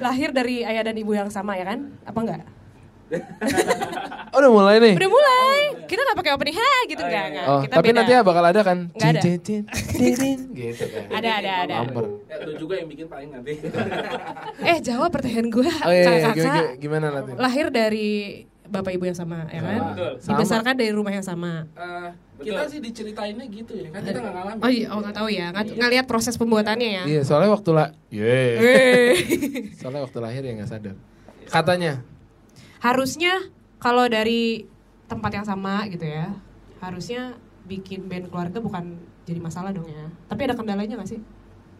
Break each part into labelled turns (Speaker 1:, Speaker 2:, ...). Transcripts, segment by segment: Speaker 1: lahir dari ayah dan ibu yang sama ya kan? Apa enggak?
Speaker 2: Oh, udah mulai nih.
Speaker 1: Udah mulai. Kita nggak pakai opening ha gitu
Speaker 3: Oh,
Speaker 1: enggak.
Speaker 3: iya, iya.
Speaker 1: enggak.
Speaker 2: Oh,
Speaker 1: Kita
Speaker 2: tapi
Speaker 1: beda.
Speaker 2: nanti bakal ada kan?
Speaker 1: Nggak ada. Iya.
Speaker 2: Cin, cin, cin, cin, gitu kan.
Speaker 1: Ada ada ada.
Speaker 2: Lamper.
Speaker 3: Ya, lu juga yang bikin paling nanti.
Speaker 1: Eh, jawab pertanyaan gue.
Speaker 2: Oh iya, iya,
Speaker 1: Kakak
Speaker 2: gimana, gimana Latin?
Speaker 1: lahir dari bapak ibu yang sama ya kan?
Speaker 3: Betul.
Speaker 2: Sama.
Speaker 1: Dibesarkan dari rumah yang sama.
Speaker 3: Eh, kita sih diceritainnya gitu ya, kan kita nggak ngalamin.
Speaker 1: Oh iya, oh nggak tahu ya, nggak nggak lihat proses pembuatannya ya.
Speaker 2: Iya, soalnya waktu lah. Yeay.
Speaker 1: Eh.
Speaker 2: Soalnya waktu lahir ya nggak sadar. Katanya.
Speaker 1: harusnya kalau dari tempat yang sama gitu ya, harusnya bikin band keluarga bukan jadi masalah dong ya. Tapi ada kendalanya nggak sih?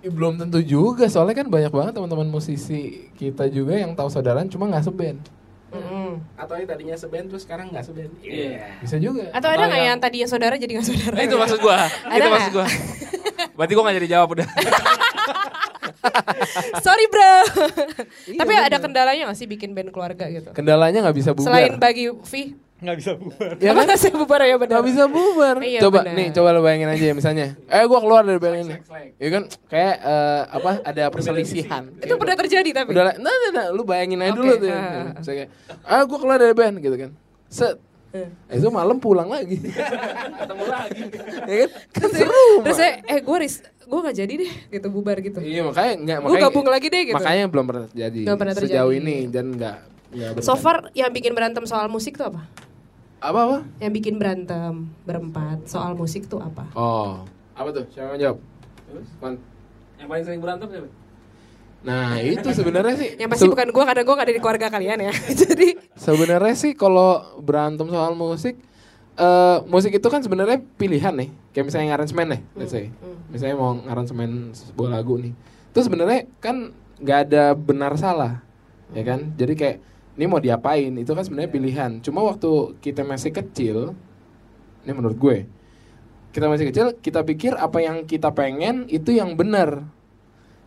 Speaker 2: Ih, belum tentu juga, soalnya kan banyak banget teman-teman musisi kita juga yang tahu saudaraan cuma nggak seband.
Speaker 1: Mm-mm.
Speaker 3: Atau ini tadinya seband terus sekarang nggak seband. Iya.
Speaker 2: Bisa juga.
Speaker 1: Atau ada nggak
Speaker 4: yang-
Speaker 1: yang tadinya saudara jadi nggak saudara?
Speaker 4: Nah, itu maksud gua.
Speaker 1: Ada
Speaker 4: itu
Speaker 1: nggak?
Speaker 4: maksud gua. Berarti gua gak jadi jawab udah.
Speaker 1: Sorry bro. Tapi ada kendalanya nggak sih bikin band keluarga gitu?
Speaker 2: Kendalanya nggak bisa bubar.
Speaker 1: Selain bagi V,
Speaker 5: Nggak bisa bubar.
Speaker 2: ya
Speaker 1: apa
Speaker 2: kan?
Speaker 1: nggak sih bubar ya benar?
Speaker 2: Gak bisa bubar.
Speaker 1: Iya,
Speaker 2: coba
Speaker 1: benar.
Speaker 2: nih, coba lo bayangin aja ya misalnya. Eh, gua keluar dari band ini.
Speaker 3: Slack, slack.
Speaker 2: Ya kan, kayak eh, apa? Ada perselisihan.
Speaker 1: Itu pernah terjadi tapi.
Speaker 2: Udah lah, nah, nah, nah, lu bayangin aja
Speaker 1: Oke,
Speaker 2: dulu tuh. ya.
Speaker 1: ah, ah, ah.
Speaker 2: Misalnya kayak, ah gue keluar dari band gitu kan. Set.
Speaker 1: Eh.
Speaker 2: Eh, itu malam pulang lagi.
Speaker 3: Ketemu lagi.
Speaker 2: ya kan? Kan seru.
Speaker 1: Terus
Speaker 2: Mak.
Speaker 1: saya, eh gue ris, gue nggak jadi deh, gitu bubar gitu.
Speaker 2: Iya, makanya enggak
Speaker 1: Gue
Speaker 2: makanya
Speaker 1: gabung lagi deh gitu.
Speaker 2: Makanya belum pernah terjadi.
Speaker 1: Belum pernah
Speaker 2: Sejauh
Speaker 1: terjadi.
Speaker 2: ini dan enggak enggak
Speaker 1: so far yang bikin berantem soal musik tuh apa?
Speaker 2: apa apa?
Speaker 1: Yang bikin berantem berempat soal musik tuh apa?
Speaker 2: Oh. Apa tuh? Siapa yang jawab?
Speaker 3: Terus
Speaker 2: Man.
Speaker 3: yang paling sering berantem siapa?
Speaker 2: Nah, itu sebenarnya sih.
Speaker 1: Yang pasti
Speaker 2: se-
Speaker 1: bukan gue karena gue gak ada di keluarga kalian ya. Jadi
Speaker 2: Sebenarnya sih kalau berantem soal musik, eh musik itu kan sebenarnya pilihan nih. Kayak misalnya ngaransemen nih, let's say. Misalnya mau ngaransemen sebuah lagu nih. Itu sebenarnya kan nggak ada benar salah, ya kan? Jadi kayak ini mau diapain itu kan sebenarnya pilihan. Cuma waktu kita masih kecil, ini menurut gue, kita masih kecil kita pikir apa yang kita pengen itu yang benar.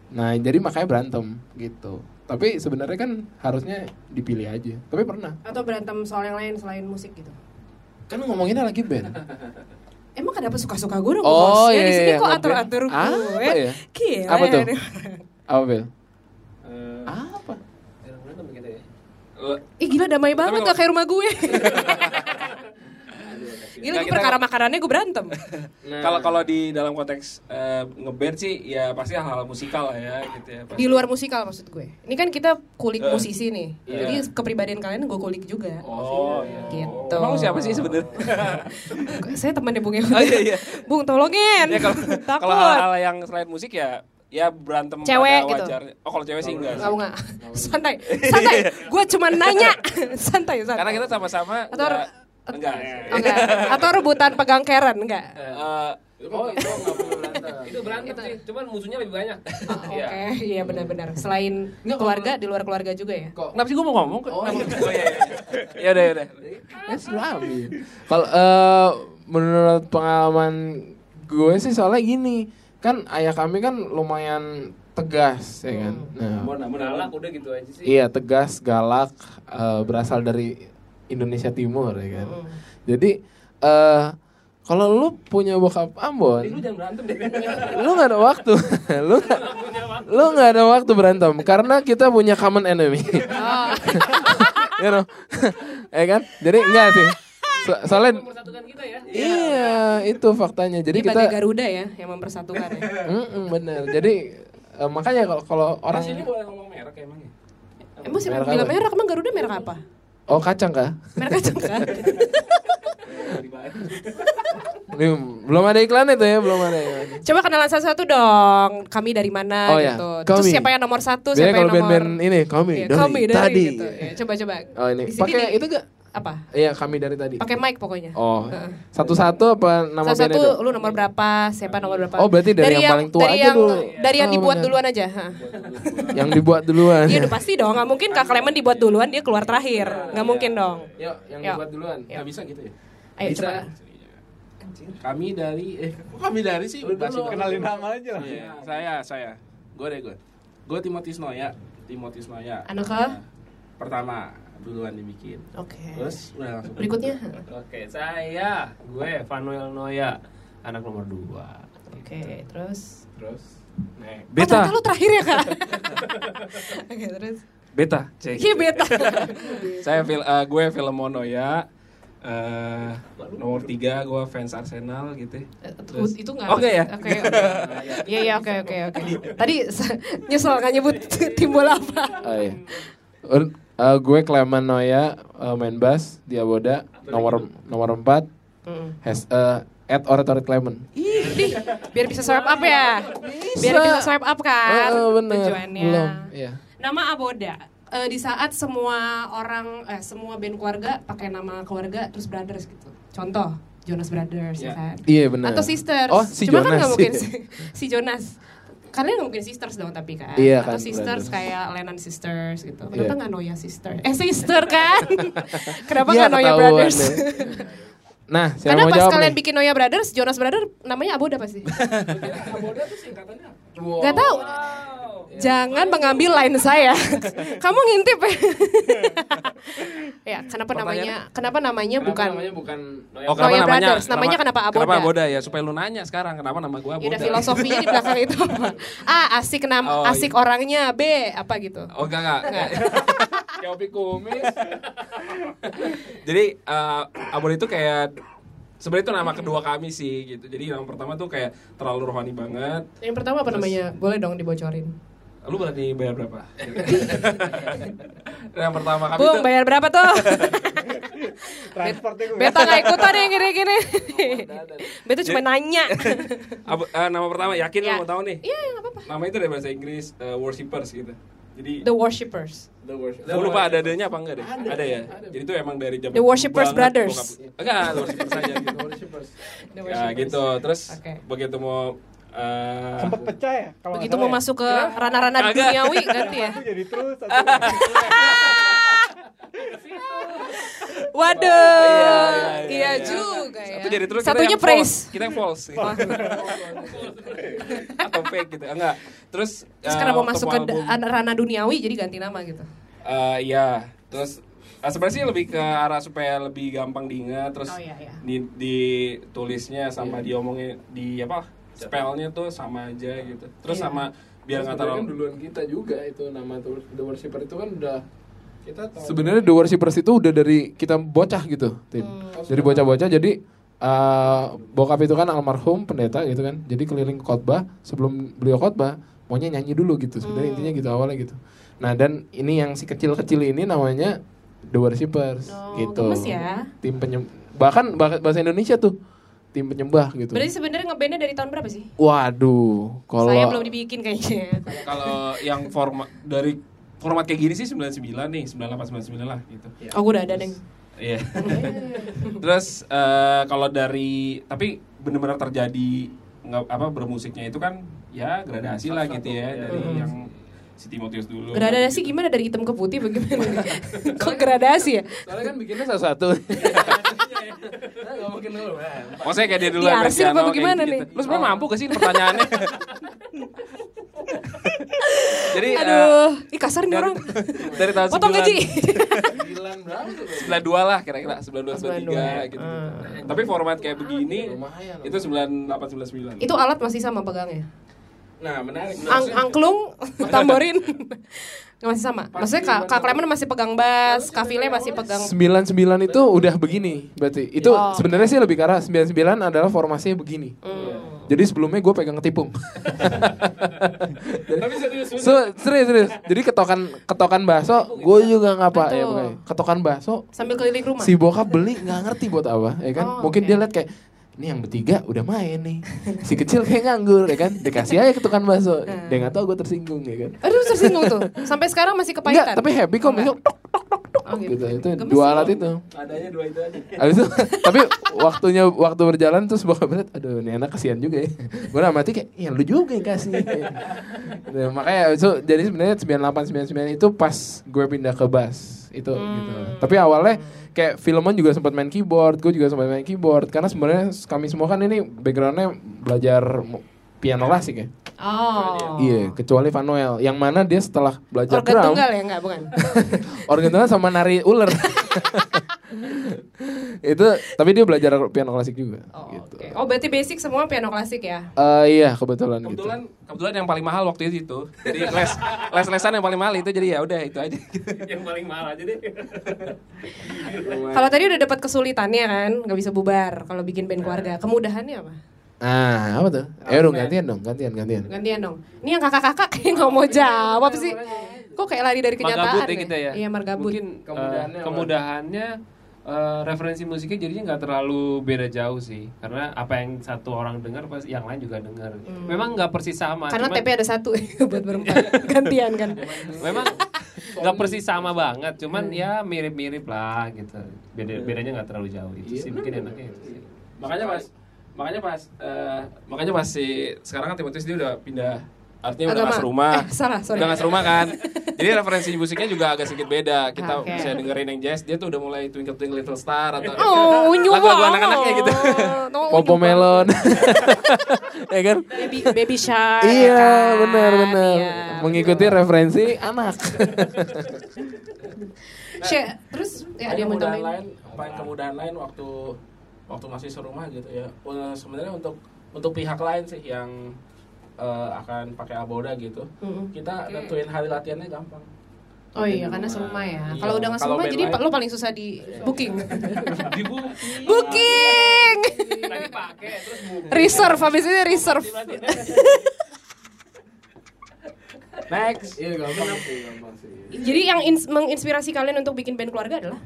Speaker 2: Nah, jadi makanya berantem gitu. Tapi sebenarnya kan harusnya dipilih aja. Tapi pernah.
Speaker 1: atau berantem soal yang lain selain musik gitu.
Speaker 2: Kan ngomonginnya lagi band.
Speaker 1: Emang kenapa suka-suka gue dong?
Speaker 2: Oh,
Speaker 1: bos? Ya,
Speaker 2: iya,
Speaker 1: di sini
Speaker 2: iya,
Speaker 1: kok
Speaker 2: ngeband.
Speaker 1: atur-atur gue.
Speaker 2: Apa ya?
Speaker 1: Gila
Speaker 2: Apa
Speaker 1: ya
Speaker 2: tuh?
Speaker 1: nih.
Speaker 2: Apa, Bel?
Speaker 3: Eh,
Speaker 2: Apa?
Speaker 3: jarang berantem kita ya.
Speaker 4: Oh,
Speaker 1: Ih gila damai banget
Speaker 4: Tapi
Speaker 1: gak kayak rumah gue.
Speaker 4: Nggak,
Speaker 1: gila gue
Speaker 4: kita-
Speaker 1: perkara makanannya gue berantem.
Speaker 3: Nah.
Speaker 4: Kalau kalau di dalam konteks eh, ngeband sih ya pasti hal-hal musikal lah ya gitu ya. Pasti.
Speaker 1: Di luar musikal maksud gue. Ini kan kita kulik
Speaker 4: Eh.
Speaker 1: musisi nih.
Speaker 4: Iya.
Speaker 1: Jadi kepribadian kalian gue kulik juga.
Speaker 4: Oh, iya.
Speaker 1: Gitu.
Speaker 4: Emang lu siapa sih sebenarnya?
Speaker 1: Saya temannya Bung Ewan.
Speaker 4: Oh, iya, iya.
Speaker 1: Bung tolongin.
Speaker 4: ya kalau
Speaker 1: Kan Takut.
Speaker 4: kalau hal-hal yang selain musik ya ya berantem
Speaker 1: Cewek
Speaker 4: pada
Speaker 1: gitu.
Speaker 4: wajarnya. Oh, kalau cewek sih enggak. sih.
Speaker 1: Kamu nggak? Santai. Santai. Gue cuma nanya. santai, santai.
Speaker 4: Iya, Karena kita sama-sama
Speaker 1: Atau-
Speaker 4: enggak- enggak.
Speaker 1: Oh, enggak. Atau rebutan pegang keren enggak?
Speaker 4: Eh,
Speaker 3: Oh, itu nggak perlu berantem. itu berantem sih, cuman musuhnya lebih banyak.
Speaker 1: Oh, Oke, iya benar-benar. Selain keluarga, di luar keluarga juga ya.
Speaker 4: Kenapa sih gue mau ngomong? Oh, iya, iya. Yaudah, yaudah.
Speaker 2: Ya, tsunami. Kalau eh, menurut pengalaman gue sih soalnya gini, kan ayah kami kan lumayan tegas ya kan. Nah,
Speaker 3: Namun, namun, galak udah gitu aja sih.
Speaker 2: Iya tegas, galak, eh, berasal dari Indonesia Timur ya kan. Jadi eh kalau lu punya
Speaker 3: Eh,
Speaker 2: bokap
Speaker 3: Lu
Speaker 2: Ambon,
Speaker 3: jangan berantem deh.
Speaker 2: lu nggak ada waktu, lu nggak- lu nggak ada waktu berantem karena kita punya common enemy. you know, ya kan? Jadi enggak sih. So- soalnya
Speaker 3: Persatukan kita ya.
Speaker 2: iya itu faktanya. Jadi
Speaker 1: Jadi
Speaker 2: kita
Speaker 1: bagai Garuda ya yang mempersatukan ya.
Speaker 2: Mm-mm, bener. Jadi eh, makanya kalau kalau
Speaker 3: Orang
Speaker 2: orang
Speaker 3: sini boleh ngomong merek ya? emangnya.
Speaker 1: Emang sih
Speaker 2: Merek
Speaker 1: bila
Speaker 2: apa?
Speaker 1: merek emang Garuda merek apa?
Speaker 2: oh kacang kah?
Speaker 1: Merek kacang kan?
Speaker 2: Ini belum ada iklan itu ya, belum ada iklan.
Speaker 1: Coba kenalan satu-satu dong. Kami dari mana
Speaker 2: Oh, ya.
Speaker 1: gitu. Terus
Speaker 2: Kami.
Speaker 1: siapa yang nomor satu,
Speaker 2: Biasanya
Speaker 1: siapa yang
Speaker 2: kalau
Speaker 1: nomor
Speaker 2: band-band ini kami
Speaker 1: Iya,
Speaker 2: dari
Speaker 1: kami dari
Speaker 2: tadi.
Speaker 1: gitu. Ya, coba-coba.
Speaker 2: Oh ini
Speaker 1: Di sini
Speaker 2: pakai
Speaker 1: nih,
Speaker 2: itu gak?
Speaker 1: apa?
Speaker 2: Iya kami dari tadi.
Speaker 1: Pakai mic pokoknya.
Speaker 2: Oh satu-satu apa nama bandnya itu?
Speaker 1: satu-satu lu nomor berapa, siapa nomor berapa?
Speaker 2: Oh, berarti dari yang paling tua
Speaker 1: dari
Speaker 2: aja
Speaker 1: yang,
Speaker 2: dulu.
Speaker 1: Dari yang
Speaker 2: Oh,
Speaker 1: dibuat
Speaker 2: benar.
Speaker 1: duluan aja. ha.
Speaker 2: Yang dibuat duluan.
Speaker 1: Iya udah pasti dong, nggak mungkin Kak Clement dibuat duluan dia keluar terakhir, nggak mungkin dong.
Speaker 2: Yuk, yang
Speaker 1: Yuk.
Speaker 2: dibuat duluan.
Speaker 3: Nggak bisa gitu ya.
Speaker 1: Iya. Ayo
Speaker 3: Bisa.
Speaker 1: coba.
Speaker 3: Kami dari eh
Speaker 5: Kok kami dari sih?
Speaker 3: Udah dulu.
Speaker 5: kenalin nama aja lah.
Speaker 3: Iya, saya saya. Gue deh gue. Gue Timotius Noya, Timotius Noya.
Speaker 1: Anak ke?
Speaker 3: Nah, Pertama duluan dibikin.
Speaker 1: Oke.
Speaker 3: Terus udah langsung.
Speaker 1: Berikutnya.
Speaker 6: Oke, saya gue Vanuel Noya, anak nomor 2.
Speaker 1: Oke, terus.
Speaker 3: Terus. Nek.
Speaker 1: Oh, ternyata lu terakhir ya, Kak. Oke, terus.
Speaker 4: Beta. Cek.
Speaker 1: Iya beta.
Speaker 4: Saya fil, eh, gue Filmono ya. Eh, nomor tiga gue fans Arsenal gitu. Terus-
Speaker 1: itu nggak
Speaker 4: Oke ya?
Speaker 1: Oke. oke. Iya iya oke oke oke. Tadi se- nyesel nggak nyebut tim bola apa.
Speaker 2: Oh, iya. Ur- eh, gue Clement Noya, eh, main bass di Aboda, nomor nomor 4. Has eh, at Oratory Clement.
Speaker 1: Ih, ih, biar bisa swipe up ya. Biar bisa swipe up kan.
Speaker 2: Eh, eh, bener.
Speaker 1: Tujuannya.
Speaker 2: Belum, iya.
Speaker 1: Nama Aboda. Eh, di saat semua orang eh, semua band keluarga pakai nama keluarga terus brothers gitu. Contoh Jonas Brothers
Speaker 3: Ya.
Speaker 1: ya kan.
Speaker 2: Iya benar.
Speaker 1: Atau sisters.
Speaker 2: Oh, si
Speaker 1: Cuma kan
Speaker 2: Jonas.
Speaker 1: nggak mungkin si, si Jonas. Kalian nggak mungkin sisters dong tapi kan.
Speaker 2: Iya
Speaker 1: Atau
Speaker 2: kan,
Speaker 1: sisters
Speaker 2: brothers.
Speaker 1: kayak Lennon sisters gitu.
Speaker 2: Iya.
Speaker 1: Kenapa nggak Noya sister? Eh sister kan. Kenapa
Speaker 2: Iya,
Speaker 1: nggak Noya
Speaker 2: ketahuan
Speaker 1: brothers?
Speaker 2: deh. Nah, siapa
Speaker 1: Karena
Speaker 2: mau
Speaker 1: pas
Speaker 2: jawab
Speaker 1: kalian
Speaker 2: nih?
Speaker 1: bikin Noya brothers, Jonas brothers namanya Aboda pasti.
Speaker 3: Aboda tuh singkatannya apa?
Speaker 1: Gak tahu.
Speaker 4: Iya.
Speaker 1: Jangan mengambil line saya. Kamu ngintip ya. ya, kenapa namanya? Kenapa namanya
Speaker 3: Kenapa
Speaker 1: bukan?
Speaker 3: namanya bukan
Speaker 1: Noya
Speaker 4: Oh, kenapa namanya?
Speaker 1: Brothers. Namanya kenapa Aboda?
Speaker 4: Kenapa Aboda ya? Supaya lu nanya sekarang kenapa nama gue
Speaker 1: Ya
Speaker 4: Aboda.
Speaker 1: udah filosofinya di belakang itu apa? A asik nama,
Speaker 4: Oh, iya.
Speaker 1: asik orangnya, B apa gitu.
Speaker 4: Oh enggak enggak.
Speaker 1: Enggak.
Speaker 4: Kayak Opi Kumis. Jadi eh, Aboda itu kayak sebenarnya itu nama kedua kami sih gitu. Jadi nama pertama tuh kayak terlalu rohani banget.
Speaker 1: Yang pertama apa namanya? Boleh dong dibocorin.
Speaker 4: Lu berani bayar berapa? yang pertama kami
Speaker 1: Bung,
Speaker 4: tuh
Speaker 1: bayar berapa tuh?
Speaker 5: Transportnya gue.
Speaker 1: Beta nggak ikutan yang gini-gini. Beta cuma nanya.
Speaker 4: Ab- eh, nama pertama yakin lu
Speaker 1: Ya.
Speaker 4: mau tahu nih.
Speaker 1: Iya, nggak apa-apa.
Speaker 4: Nama itu dari bahasa Inggris eh, worshippers gitu. Jadi
Speaker 1: The Worshippers.
Speaker 3: The Worship.
Speaker 4: Gue lupa ada adanya apa enggak deh? Ada, ya. Jadi itu emang dari zaman
Speaker 1: The Worshippers
Speaker 4: dulu banget,
Speaker 1: Brothers.
Speaker 4: bokap- Enggak, The Worshippers aja gitu.
Speaker 1: The
Speaker 4: Ya
Speaker 1: Worshippers.
Speaker 4: gitu. Terus
Speaker 1: Oke.
Speaker 4: begitu mau eh,
Speaker 5: Sempat pecah ya? Kalau nggak
Speaker 1: Begitu
Speaker 5: salah
Speaker 1: mau
Speaker 5: ya?
Speaker 1: masuk ke ranah-ranah
Speaker 4: Kagak.
Speaker 1: duniawi ganti
Speaker 4: Iya,
Speaker 1: ya.
Speaker 5: Satu jadi terus, satu jadi terus.
Speaker 1: Waduh,
Speaker 4: Iya, iya, iya,
Speaker 1: iya
Speaker 4: iya.
Speaker 1: juga ya.
Speaker 4: satu jadi terus kita
Speaker 1: Satunya
Speaker 4: yang false.
Speaker 1: praise. Oh.
Speaker 4: Kita yang false. gitu. Atau fake gitu. Enggak. Terus
Speaker 1: Terus
Speaker 4: eh,
Speaker 1: karena mau
Speaker 4: waktu
Speaker 1: masuk ke
Speaker 4: album,
Speaker 1: da- ranah duniawi jadi ganti nama gitu.
Speaker 4: eh, iya. Terus eh, sebenarnya sih lebih ke arah supaya lebih gampang diingat terus
Speaker 1: Oh, iya, iya.
Speaker 4: di- ditulisnya sama
Speaker 2: Iya.
Speaker 4: diomongin di apa spellnya tuh sama aja gitu terus
Speaker 1: Iya.
Speaker 4: sama biar
Speaker 2: Sebenarnya
Speaker 4: nggak
Speaker 2: kan
Speaker 4: terlalu
Speaker 2: duluan kita juga itu nama The- The Worshipper itu kan udah
Speaker 5: Kita tahu.
Speaker 2: sebenarnya The Worshippers itu udah dari kita bocah gitu,
Speaker 1: Hmm.
Speaker 2: Tin. Dari bocah-bocah jadi eh, bokap itu kan almarhum pendeta gitu kan. Jadi keliling khotbah sebelum beliau khotbah maunya nyanyi dulu gitu. Sebenarnya intinya
Speaker 1: Hmm.
Speaker 2: gitu awalnya gitu. Nah, dan ini yang si kecil-kecil ini namanya The Worshippers
Speaker 1: Oh,
Speaker 2: gitu.
Speaker 1: gemes ya.
Speaker 2: Tim penyem bahkan bah- bahasa Indonesia tuh tim penyembah gitu.
Speaker 1: Berarti sebenarnya ngebandnya dari tahun berapa sih?
Speaker 2: Waduh, kalau
Speaker 1: Saya belum dibikin kayaknya.
Speaker 4: Kalau yang format dari format kayak gini sih 99 nih, 98 99 lah gitu. Iya.
Speaker 1: Oh, gue udah ada, Deng.
Speaker 4: Terus eh, kalau dari tapi benar-benar terjadi nggak apa bermusiknya itu kan ya gradasi lah gitu ya dari yang si Timotius dulu.
Speaker 1: iya.
Speaker 4: Gitu.
Speaker 1: Gradasi gimana dari hitam ke putih bagaimana? Kok gradasi ya?
Speaker 2: Soalnya kan bikinnya satu-satu.
Speaker 3: Gak mungkin dulu. eh.
Speaker 4: Maksudnya kayak dia dulu
Speaker 1: Diarsip
Speaker 4: Graciano,
Speaker 1: apa
Speaker 4: kayak
Speaker 1: bagaimana nih? Oh.
Speaker 4: Lu sebenarnya mampu gak sih ini pertanyaannya? Jadi eh,
Speaker 1: Aduh, ih kasar nih
Speaker 4: dari,
Speaker 1: orang.
Speaker 4: dari tahun
Speaker 1: Potong
Speaker 4: 9
Speaker 1: gaji.
Speaker 3: Sembilan berapa tuh?
Speaker 4: sembilan dua lah kira-kira sembilan dua sembilan tiga
Speaker 1: 92.
Speaker 4: gitu
Speaker 1: Ah.
Speaker 4: tapi format kayak begini
Speaker 2: Lumayan.
Speaker 4: itu sembilan delapan sembilan sembilan
Speaker 1: Itu alat masih sama pegangnya.
Speaker 3: Nah, menarik.
Speaker 1: Ang
Speaker 3: Maksudnya-
Speaker 1: angklung, tamborin. Nggak masih sama. Maksudnya Kak, Kak Clement masih pegang bass, Kak Vile masih pegang
Speaker 2: 99 itu udah begini berarti. Itu
Speaker 1: Oh.
Speaker 2: sebenarnya sih lebih ke arah 99 adalah formasinya begini.
Speaker 1: Oh.
Speaker 2: Jadi sebelumnya gue pegang ketipung.
Speaker 3: Tapi serius.
Speaker 2: so, serius serius. Jadi ketokan ketokan bakso gue juga nggak apa ya
Speaker 1: Betul.
Speaker 2: pokoknya. Ketokan bakso
Speaker 1: sambil keliling rumah.
Speaker 2: si bokap beli nggak ngerti buat apa ya kan.
Speaker 1: Oh,
Speaker 2: Mungkin
Speaker 1: oke.
Speaker 2: dia lihat kayak ini yang bertiga udah main nih. Si kecil kayak nganggur ya kan. Dikasih aja ke tukang bakso.
Speaker 1: Hmm.
Speaker 2: Dia nggak tahu gue tersinggung ya kan.
Speaker 1: Aduh tersinggung tuh. Sampai sekarang masih kepahitan.
Speaker 2: Enggak, tapi happy kok besok tok tok tok tok
Speaker 1: Oh, gitu.
Speaker 2: gitu. Itu
Speaker 1: Gemes
Speaker 2: dua
Speaker 1: sih.
Speaker 2: alat itu.
Speaker 3: Adanya dua itu aja.
Speaker 4: Gitu.
Speaker 2: Abis itu, tapi waktunya waktu berjalan terus bokap lihat, aduh ini anak kasihan juga ya. Gue udah mati kayak, ya lu juga yang kasih. Nah, makanya abis itu, jadi sebenarnya 9899 itu pas gue pindah ke bass itu gitu.
Speaker 1: Hmm.
Speaker 2: Tapi awalnya kayak filman juga sempat main keyboard, gue juga sempat main keyboard karena sebenarnya kami semua kan ini backgroundnya belajar mu- piano klasik ya.
Speaker 1: Oh.
Speaker 2: Iya, kecuali Van Noel yang mana dia setelah belajar
Speaker 1: Organ
Speaker 2: drum,
Speaker 1: tunggal ya enggak bukan.
Speaker 2: organ tunggal sama nari ular. itu tapi dia belajar piano klasik juga
Speaker 1: Oh,
Speaker 2: gitu.
Speaker 1: oke. Oh, berarti basic semua piano klasik ya?
Speaker 2: Eh, iya kebetulan,
Speaker 4: kebetulan kebetulan yang paling mahal waktu itu itu jadi les les lesan yang paling mahal itu jadi ya udah itu aja
Speaker 6: yang paling mahal aja deh
Speaker 1: Kalau tadi udah dapat kesulitannya kan, nggak bisa bubar kalau bikin band keluarga. Kemudahannya apa?
Speaker 2: gitu. Ah, apa tuh? Ayo dong gantian dong, gantian gantian.
Speaker 1: Gantian dong. Ini yang kakak-kakak kayak nggak mau jawab sih. Kok kayak lari dari kenyataan?
Speaker 6: margabut ya
Speaker 1: nih?
Speaker 6: kita ya
Speaker 1: Iya, margabut.
Speaker 6: mungkin eh,
Speaker 5: Kemudahannya
Speaker 6: kemudahannya,
Speaker 5: apa?
Speaker 6: eh, referensi musiknya jadinya nggak terlalu beda jauh sih karena apa yang satu orang dengar pasti yang lain juga dengar gitu. memang nggak persis sama
Speaker 1: Hmm. Karena
Speaker 6: cuman-
Speaker 1: TP ada satu buat berempat. Gantian kan.
Speaker 6: Iya, memang nggak persis sama banget cuman
Speaker 1: Iya.
Speaker 6: ya mirip-mirip lah gitu beda bedanya nggak terlalu jauh
Speaker 1: Iya,
Speaker 6: itu sih mungkin enaknya itu sih.
Speaker 4: makanya pas makanya pas eh, makanya pas si sekarang kan Timotius dia udah pindah artinya udah
Speaker 1: Agama.
Speaker 4: nggak serumah
Speaker 1: Eh, salah, sorry.
Speaker 4: udah nggak serumah kan jadi referensi musiknya juga agak sedikit beda kita
Speaker 1: Oke.
Speaker 4: bisa dengerin yang jazz dia tuh udah mulai Twinkle Twinkle Little Star atau
Speaker 1: Oh, nyuwah.
Speaker 4: lagu-lagu anak-anaknya gitu
Speaker 1: No,
Speaker 2: Popo
Speaker 1: nyuwah.
Speaker 2: melon. ya kan?
Speaker 1: Baby, baby shark. ya
Speaker 2: Iya,
Speaker 1: kan?
Speaker 2: benar benar.
Speaker 1: Iya,
Speaker 2: Mengikuti
Speaker 1: betul.
Speaker 2: referensi anak.
Speaker 1: Syek, terus ya
Speaker 3: Paling
Speaker 1: dia mau
Speaker 3: kemudahan
Speaker 1: tambahin.
Speaker 3: lain, paling kemudahan lain waktu waktu masih serumah gitu ya. Eh, Sebenarnya untuk untuk pihak lain sih yang eh, akan pakai aboda gitu,
Speaker 1: Mm-mm.
Speaker 3: kita
Speaker 1: Oke.
Speaker 3: tentuin hari latihannya gampang.
Speaker 1: Oh iya, karena serumah ya.
Speaker 3: Iya.
Speaker 1: Kalau udah nggak
Speaker 3: Kalau
Speaker 1: serumah,
Speaker 3: band
Speaker 1: jadi
Speaker 3: lain-
Speaker 1: pa- lo paling susah di booking.
Speaker 3: Di bu,
Speaker 1: booking.
Speaker 6: Lagi pakai terus buka.
Speaker 1: reserve, habis ini reserve.
Speaker 3: next.
Speaker 5: Iya gampang sih, gampang sih.
Speaker 1: Jadi yang ins- menginspirasi kalian untuk bikin band keluarga adalah?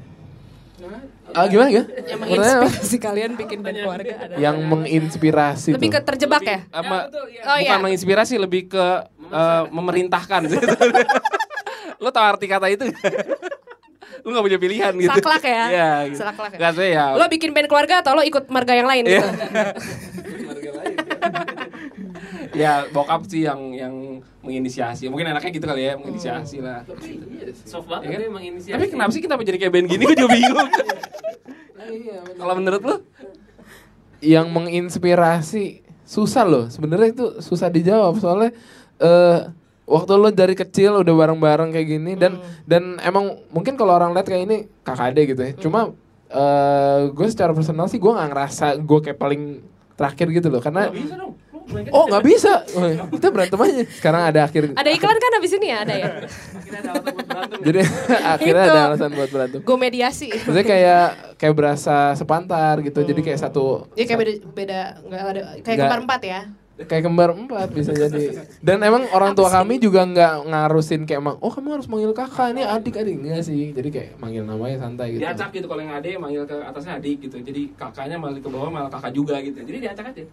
Speaker 2: Ah, gimana ya?
Speaker 1: Yang
Speaker 2: Pertanyaan apa?
Speaker 1: menginspirasi kalian bikin band keluarga
Speaker 3: Iya,
Speaker 1: adalah?
Speaker 2: Yang menginspirasi
Speaker 1: Lebih ke
Speaker 2: tuh.
Speaker 1: terjebak ya?
Speaker 4: Apa,
Speaker 1: Oh
Speaker 4: bukan
Speaker 1: iya.
Speaker 4: menginspirasi lebih ke eh, memerintahkan lo tau arti kata itu nggak? lo nggak punya pilihan gitu
Speaker 1: Saklak ya?
Speaker 4: Iya, gitu.
Speaker 1: Saklak ya?
Speaker 4: Nggak sih ya
Speaker 1: Lo bikin band keluarga atau lo ikut marga yang lain gitu?
Speaker 4: ya bokap sih yang yang menginisiasi mungkin enaknya gitu kali ya
Speaker 1: Hmm.
Speaker 4: menginisiasi lah
Speaker 6: soft
Speaker 4: Iya
Speaker 6: banget
Speaker 4: kan?
Speaker 6: dia menginisiasi
Speaker 4: tapi kenapa sih kita jadi kayak band gini gue juga bingung
Speaker 1: Nah, iya,
Speaker 4: kalau menurut lo
Speaker 2: Yang menginspirasi susah loh. Sebenarnya itu susah dijawab soalnya eh waktu lo dari kecil udah bareng-bareng kayak gini dan
Speaker 1: Hmm.
Speaker 2: dan emang mungkin kalau orang lihat kayak ini kakak adek gitu ya.
Speaker 1: Hmm.
Speaker 2: Cuma eh gue secara personal sih gue nggak ngerasa gue kayak paling terakhir gitu loh karena Oh nggak bisa, Wah, kita berantem aja. Sekarang ada akhir.
Speaker 1: kan? Ada iklan kan habis ini ya? Ada ya?
Speaker 2: Jadi akhirnya
Speaker 1: Itu.
Speaker 2: ada alasan buat berantem.
Speaker 1: Gue mediasi.
Speaker 3: Iya.
Speaker 2: Maksudnya kayak kayak berasa sepantar gitu. Jadi kayak satu
Speaker 1: Jadi Iya, kayak beda, beda nggak ada kayak
Speaker 2: Nggak.
Speaker 1: kembar empat ya?
Speaker 2: kayak kembar empat bisa jadi. Dan emang orang tua kami juga nggak ngarusin kayak emang, oh kamu harus manggil kakak ini adik adik enggak sih. Jadi kayak manggil namanya santai gitu.
Speaker 4: diacak gitu kalau yang ade manggil ke atasnya adik gitu jadi kakaknya malah ke bawah malah kakak juga gitu jadi diacak aja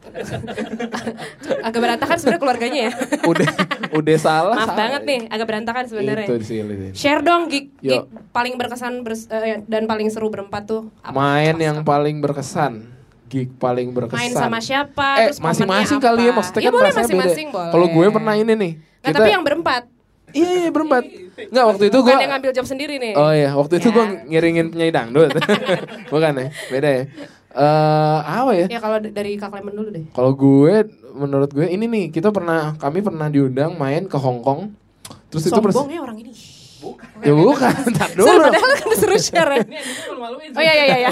Speaker 1: Agak berantakan sebenarnya keluarganya ya.
Speaker 2: Udah udah salah.
Speaker 1: Maaf
Speaker 2: salah.
Speaker 1: banget nih, agak berantakan sebenarnya.
Speaker 2: Itu sih. Lin.
Speaker 1: Share dong gig, gig
Speaker 2: Yo.
Speaker 1: paling berkesan bers- eh, dan paling seru berempat tuh. apa?
Speaker 2: Main yang paling berkesan, gig paling berkesan.
Speaker 1: Main sama siapa?
Speaker 2: eh
Speaker 1: terus
Speaker 2: masing-masing
Speaker 1: momennya
Speaker 2: kali ya
Speaker 1: apa.
Speaker 2: maksudnya
Speaker 1: Iya,
Speaker 2: kan
Speaker 1: boleh
Speaker 2: rasanya beda.
Speaker 1: masing-masing boleh.
Speaker 2: Kalau gue pernah ini nih.
Speaker 1: Nah, tapi yang berempat.
Speaker 2: iya iya berempat. Enggak waktu itu gue
Speaker 1: Bukan yang ngambil job sendiri nih.
Speaker 2: Oh iya, waktu itu
Speaker 1: Ya.
Speaker 2: gue ngiringin penyanyi dangdut. Bukan ya, beda ya. Eh, apa ya?
Speaker 1: Ya kalau d- dari Kak Clement dulu deh.
Speaker 2: Kalau gue menurut gue ini nih, kita pernah kami pernah diundang main ke Hong Kong. Terus itu
Speaker 1: Sombong ya orang ini.
Speaker 2: Ya bukan, tak dulu.
Speaker 1: Seru padahal kan seru share ya. Oh iya iya iya. iya.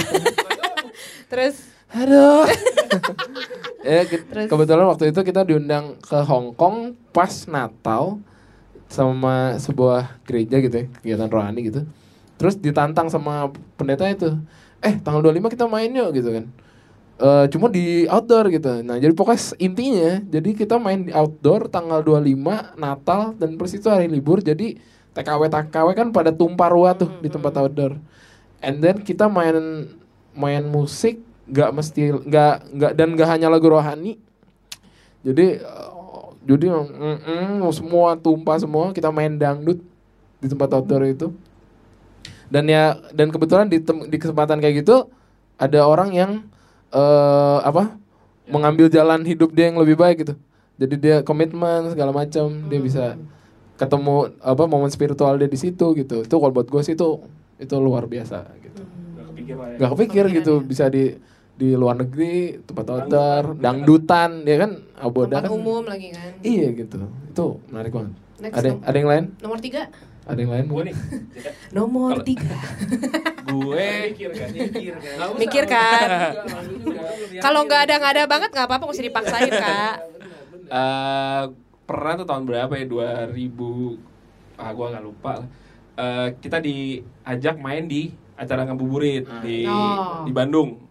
Speaker 1: Terus
Speaker 2: Aduh. ya, ke- kebetulan waktu itu kita diundang ke Hong Kong pas Natal sama sebuah gereja gitu ya, kegiatan rohani gitu. Terus ditantang sama pendeta itu, eh tanggal 25 kita main yuk gitu kan. Eh cuma di outdoor gitu. Nah, jadi pokoknya s- intinya jadi kita main di outdoor tanggal 25 Natal dan persis itu hari libur. Jadi TKW TKW kan pada tumpah ruah tuh di tempat outdoor. And then kita main main musik nggak mesti nggak nggak dan nggak hanya lagu rohani. Jadi eh, jadi mm, mm, semua tumpah semua kita main dangdut di tempat outdoor itu. Dan ya dan kebetulan di tem- di kesempatan kayak gitu ada orang yang eh apa mengambil jalan hidup dia yang lebih baik gitu. Jadi dia komitmen segala macam, dia bisa ketemu apa momen spiritual dia di situ gitu. Itu kalau buat gue sih itu itu luar biasa gitu.
Speaker 3: Gak kepikir lah ya.
Speaker 2: Gak kepikir
Speaker 1: Kepikiran
Speaker 2: gitu
Speaker 1: ya.
Speaker 2: bisa di di luar negeri, tempat outdoor, dangdutan, ya kan aboda
Speaker 1: tempat
Speaker 2: kan.
Speaker 1: umum lagi kan.
Speaker 2: Iya gitu. Itu menarik banget.
Speaker 1: Next
Speaker 2: ada
Speaker 1: dong.
Speaker 2: ada yang lain?
Speaker 1: Nomor tiga.
Speaker 2: Ada yang lain?
Speaker 3: Gue nih.
Speaker 4: Eh.
Speaker 1: Nomor tiga.
Speaker 4: gue
Speaker 3: Mikir kan, mikir kan.
Speaker 4: Nggak usah.
Speaker 1: Mikir kan.
Speaker 3: Nggak usah.
Speaker 1: Kalau nggak ada nggak ada banget nggak apa-apa mesti dipaksain kak.
Speaker 4: eh pernah tuh tahun berapa ya 2000 ah gua nggak lupa lah. Eh, kita diajak main di acara ngabuburit di
Speaker 1: Oh.
Speaker 4: di Bandung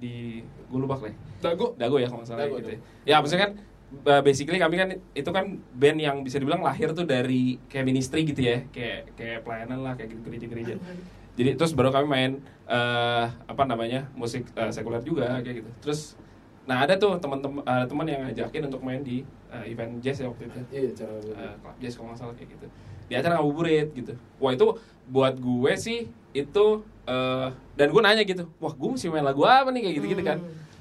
Speaker 4: di gue lupa kali dago dago ya kalau nggak salah
Speaker 3: Dago,
Speaker 4: gitu ya. ya maksudnya kan eh, basically kami kan itu kan band yang bisa dibilang lahir tuh dari kayak ministry gitu ya kayak kayak pelayanan lah kayak gitu gereja-gereja jadi terus baru kami main eh apa namanya musik eh, sekuler juga kayak gitu terus nah ada tuh teman-teman eh, teman yang ngajakin untuk main di eh, event jazz ya waktu itu
Speaker 3: Iya, iya, cara gue.
Speaker 4: Eh, club jazz kalau nggak salah kayak gitu di acara ngabuburit gitu wah itu buat gue sih itu eh dan gue nanya gitu wah gue mesti main lagu apa nih kayak gitu gitu kan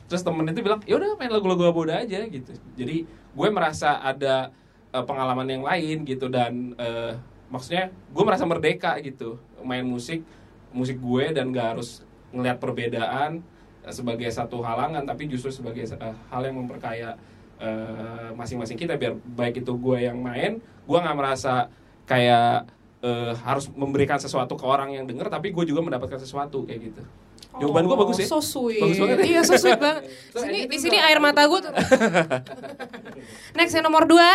Speaker 4: terus temen itu bilang ya udah main lagu-lagu aboda aja gitu jadi gue merasa ada eh, pengalaman yang lain gitu dan eh, maksudnya gue merasa merdeka gitu main musik musik gue dan gak harus ngelihat perbedaan eh, sebagai satu halangan tapi justru sebagai eh, hal yang memperkaya eh, masing-masing kita biar baik itu gue yang main gue nggak merasa kayak eh, harus memberikan sesuatu ke orang yang denger tapi gue juga mendapatkan sesuatu kayak gitu jawaban gue
Speaker 1: Oh,
Speaker 4: bagus ya
Speaker 1: So sweet.
Speaker 4: Bagus banget ya?
Speaker 1: Iya, so sweet banget. Sini di sini air mata gue tuh. Next yang nomor dua.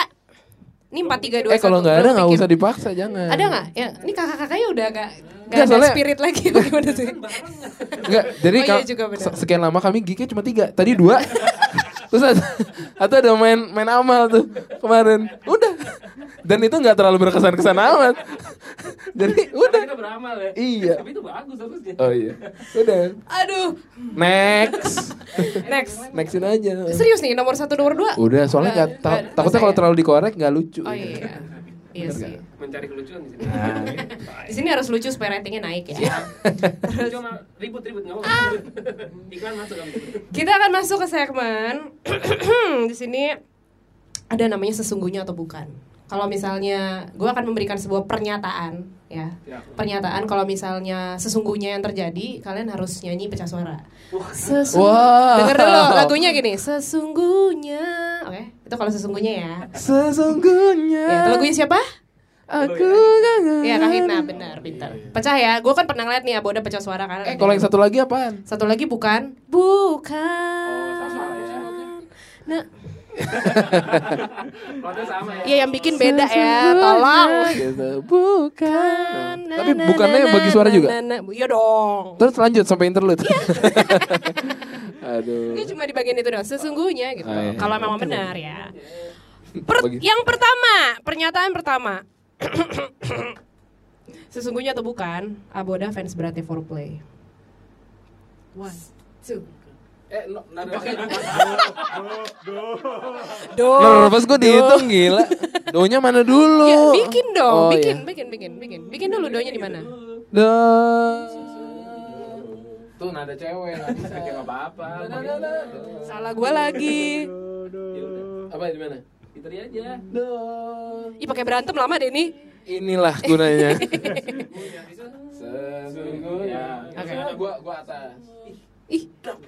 Speaker 1: Ini empat tiga dua.
Speaker 2: Eh kalau
Speaker 1: satu.
Speaker 2: nggak ada
Speaker 1: Belum
Speaker 2: nggak
Speaker 1: pikir.
Speaker 2: usah dipaksa jangan.
Speaker 1: Ada nggak? Ya, ini kakak-kakaknya udah gak,
Speaker 2: Nggak,
Speaker 1: gak ada
Speaker 2: soalnya-
Speaker 1: spirit lagi bagaimana sih?
Speaker 2: Enggak, jadi
Speaker 1: Oh iya
Speaker 2: kalau
Speaker 1: juga benar.
Speaker 2: se- sekian lama kami gignya cuma tiga, tadi dua. Terus ada, atau ada main main amal tuh kemarin. Udah. Dan itu nggak terlalu berkesan-kesan amat. Jadi udah.
Speaker 6: Kita beramal ya.
Speaker 2: Iya.
Speaker 6: Tapi itu bagus harusnya.
Speaker 2: Oh iya. Udah.
Speaker 1: Aduh,
Speaker 2: Next.
Speaker 1: next.
Speaker 2: Nextin aja.
Speaker 1: Serius nih nomor satu nomor dua.
Speaker 2: Udah, soalnya
Speaker 1: Nggak-
Speaker 2: nggak ta-
Speaker 1: nggak-
Speaker 2: takutnya
Speaker 1: masa
Speaker 2: kalau
Speaker 1: ya?
Speaker 2: terlalu dikorek nggak lucu. ya.
Speaker 1: Oh iya, iya sih.
Speaker 6: Mencari kelucuan di sini.
Speaker 1: Di sini harus lucu supaya ratingnya naik ya.
Speaker 6: Lucu sama ribut-ribut nggak apa-apa. Iklan masuk kamu.
Speaker 1: Kita akan masuk ke segmen di sini ada namanya sesungguhnya atau bukan. Kalau misalnya gue akan memberikan sebuah pernyataan ya. Pernyataan kalau misalnya sesungguhnya yang terjadi kalian harus nyanyi pecah suara. Sesung-
Speaker 2: Wow.
Speaker 1: Denger dulu lagunya gini, sesungguhnya. Oke, itu kalau sesungguhnya ya.
Speaker 2: Sesungguhnya.
Speaker 1: Ya, itu lagunya siapa?
Speaker 2: Aku kangen.
Speaker 1: Iya, Kahina, benar, pintar. Pecah ya. Gue kan pernah ngeliat nih Aboda pecah suara kan.
Speaker 2: Eh, kalau yang satu lagi apaan?
Speaker 1: Satu lagi bukan? Bukan. Nah,
Speaker 6: Plotnya sama ya.
Speaker 1: ya yang bikin beda ya. Tolong.
Speaker 2: Gitu. Bukan. Tapi bukannya bagi suara juga?
Speaker 1: Iya dong.
Speaker 2: Terus lanjut sampai interlude.
Speaker 1: Iya.
Speaker 2: Aduh.
Speaker 1: Ini cuma di bagian itu doang. Sesungguhnya gitu.
Speaker 2: Ah, iya.
Speaker 1: Kalau memang benar ya. Per-
Speaker 2: Bagi-
Speaker 1: yang pertama, pernyataan pertama. Sesungguhnya atau bukan, Aboda fans berarti foreplay. One, two.
Speaker 3: Eh, no, nada.
Speaker 1: Do.
Speaker 2: Nah, pas gue dihitung gila. Donya mana dulu?
Speaker 1: Oh, Ya, bikin dong,
Speaker 2: Oh,
Speaker 1: bikin,
Speaker 2: iya.
Speaker 1: bikin, bikin, bikin, bikin dulu doanya di mana?
Speaker 2: Do.
Speaker 3: Tuh nada cewek, nggak bisa kayak nggak apa-apa.
Speaker 4: gitu.
Speaker 1: Salah gua lagi.
Speaker 3: Ya udah. Apa di mana?
Speaker 6: Itu dia aja.
Speaker 1: Ih pakai berantem lama deh ini.
Speaker 2: Inilah gunanya.
Speaker 4: Ya.
Speaker 3: Sesungguhnya.
Speaker 1: Oke.
Speaker 3: Gua gua atas.
Speaker 1: Ih,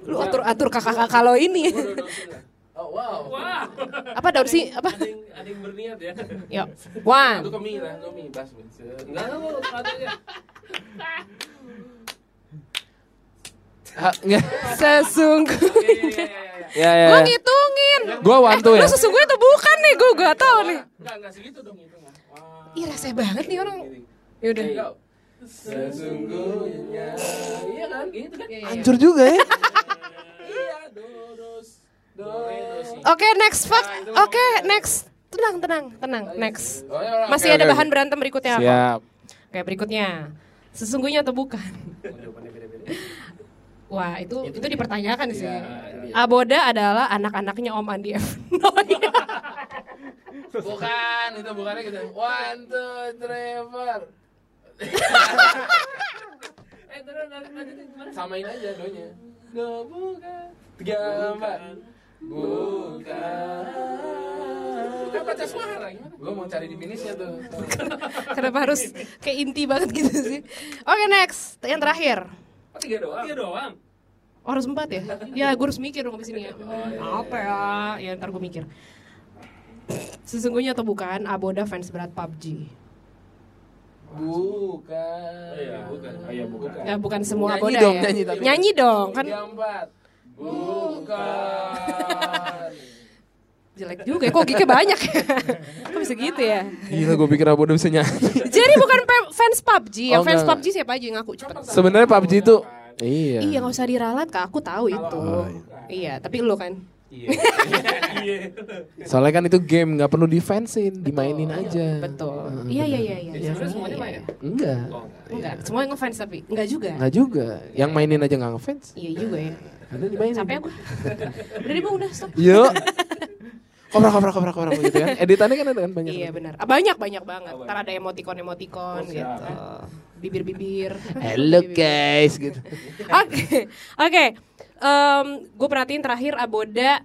Speaker 1: lu atur atur kakak kakak lo ini.
Speaker 3: Oh, wow.
Speaker 6: Wah.
Speaker 1: apa daun sih? Apa?
Speaker 6: Ada yang ada yang berniat ya.
Speaker 1: Yuk.
Speaker 3: Itu
Speaker 1: One.
Speaker 3: kemi lah, kemi bas. Se-
Speaker 6: Enggak enggak mau satu aja.
Speaker 2: Ha, nggak.
Speaker 1: Sesungguhnya.
Speaker 6: Iya, iya, iya, iya, iya.
Speaker 2: ya ya.
Speaker 1: Gua
Speaker 2: ya.
Speaker 1: ngitungin.
Speaker 2: Gua one two
Speaker 1: Lu
Speaker 2: ya.
Speaker 1: sesungguhnya atau bukan nih? Gua gak tau nih.
Speaker 3: Enggak, enggak segitu dong itu mah. Wah.
Speaker 1: Ih rese banget nih orang. Ya Yaudah.
Speaker 3: Enggak. Sesungguhnya. Iya kan? Gitu kan?
Speaker 2: Hancur juga ya.
Speaker 3: Iya, do dos. Do.
Speaker 1: Oke next fuck. Oke next. Tenang tenang tenang next. Masih ada bahan berantem berikutnya apa?
Speaker 2: Siap.
Speaker 1: Kayak berikutnya. Sesungguhnya atau bukan? Wah, itu itu dipertanyakan sih.
Speaker 2: Iya,
Speaker 1: Aboda adalah anak-anaknya Om Andi F. iya. Noy.
Speaker 3: Bukan, itu bukannya gitu. One, two, three, four.
Speaker 6: Eh, terus lanjut lanjutin gimana?
Speaker 3: Samain aja doanya. Do bukan. Tiga, empat. Bukan. Bukan baca suara gimana? Gue mau cari di finishnya tuh.
Speaker 1: Kenapa harus kayak inti banget gitu sih? Oke, next. Yang terakhir.
Speaker 6: Oh, tiga doang. Tiga doang.
Speaker 1: Oh, harus empat ya? Ya, gue harus mikir dong abis ini ya.
Speaker 2: Oh, iya,
Speaker 1: Hmm, apa ya? Ya, ntar gue mikir. Sesungguhnya atau bukan, Aboda fans berat PUBG.
Speaker 3: Bukan.
Speaker 4: Iya,
Speaker 3: bukan.
Speaker 4: bukan.
Speaker 3: Oh, iya, bukan.
Speaker 1: Ya, bukan semua
Speaker 2: Nyanyi
Speaker 1: boda
Speaker 2: dong,
Speaker 1: ya.
Speaker 2: nyanyi tapi.
Speaker 1: dong, kan
Speaker 3: Tiga, empat. Bukan.
Speaker 1: jelek juga ya. Kok gignya banyak ya? Kok bisa gitu ya?
Speaker 2: Gila gue pikir Abodo bisa nyanyi.
Speaker 1: Jadi bukan pe- fans PUBG, yang
Speaker 2: Oh,
Speaker 1: fans
Speaker 2: enggak.
Speaker 1: PUBG siapa aja yang ngaku cepet.
Speaker 2: Sebenarnya PUBG itu iya.
Speaker 1: Iya nggak usah diralat kak, aku tahu itu. Iya, tapi lu kan.
Speaker 4: Iya.
Speaker 2: Soalnya kan itu game nggak perlu defensein, dimainin aja.
Speaker 1: Betul.
Speaker 2: Heeh,
Speaker 1: Iya iya iya iya.
Speaker 6: Sebenarnya semuanya
Speaker 1: Iya,
Speaker 6: main
Speaker 1: iya.
Speaker 6: ya?
Speaker 2: Enggak.
Speaker 1: Enggak, semua yang ngefans tapi enggak juga.
Speaker 2: Enggak juga. Yang mainin aja nggak ngefans.
Speaker 1: Iya juga ya.
Speaker 2: Ada dimainin. Iya,
Speaker 1: Capek aku. Udah deh, Bu, udah stop.
Speaker 2: Yuk. Kobra kobra kobra kobra gitu kan. Editannya kan ada kan banyak.
Speaker 1: Iya benar. Ah, Banyak banyak banget. Ntar ada emoticon emoticon gitu. Bibir-bibir.
Speaker 2: Hello
Speaker 1: Bibir-bibir.
Speaker 2: guys gitu.
Speaker 1: Oke, oke. gue perhatiin terakhir Aboda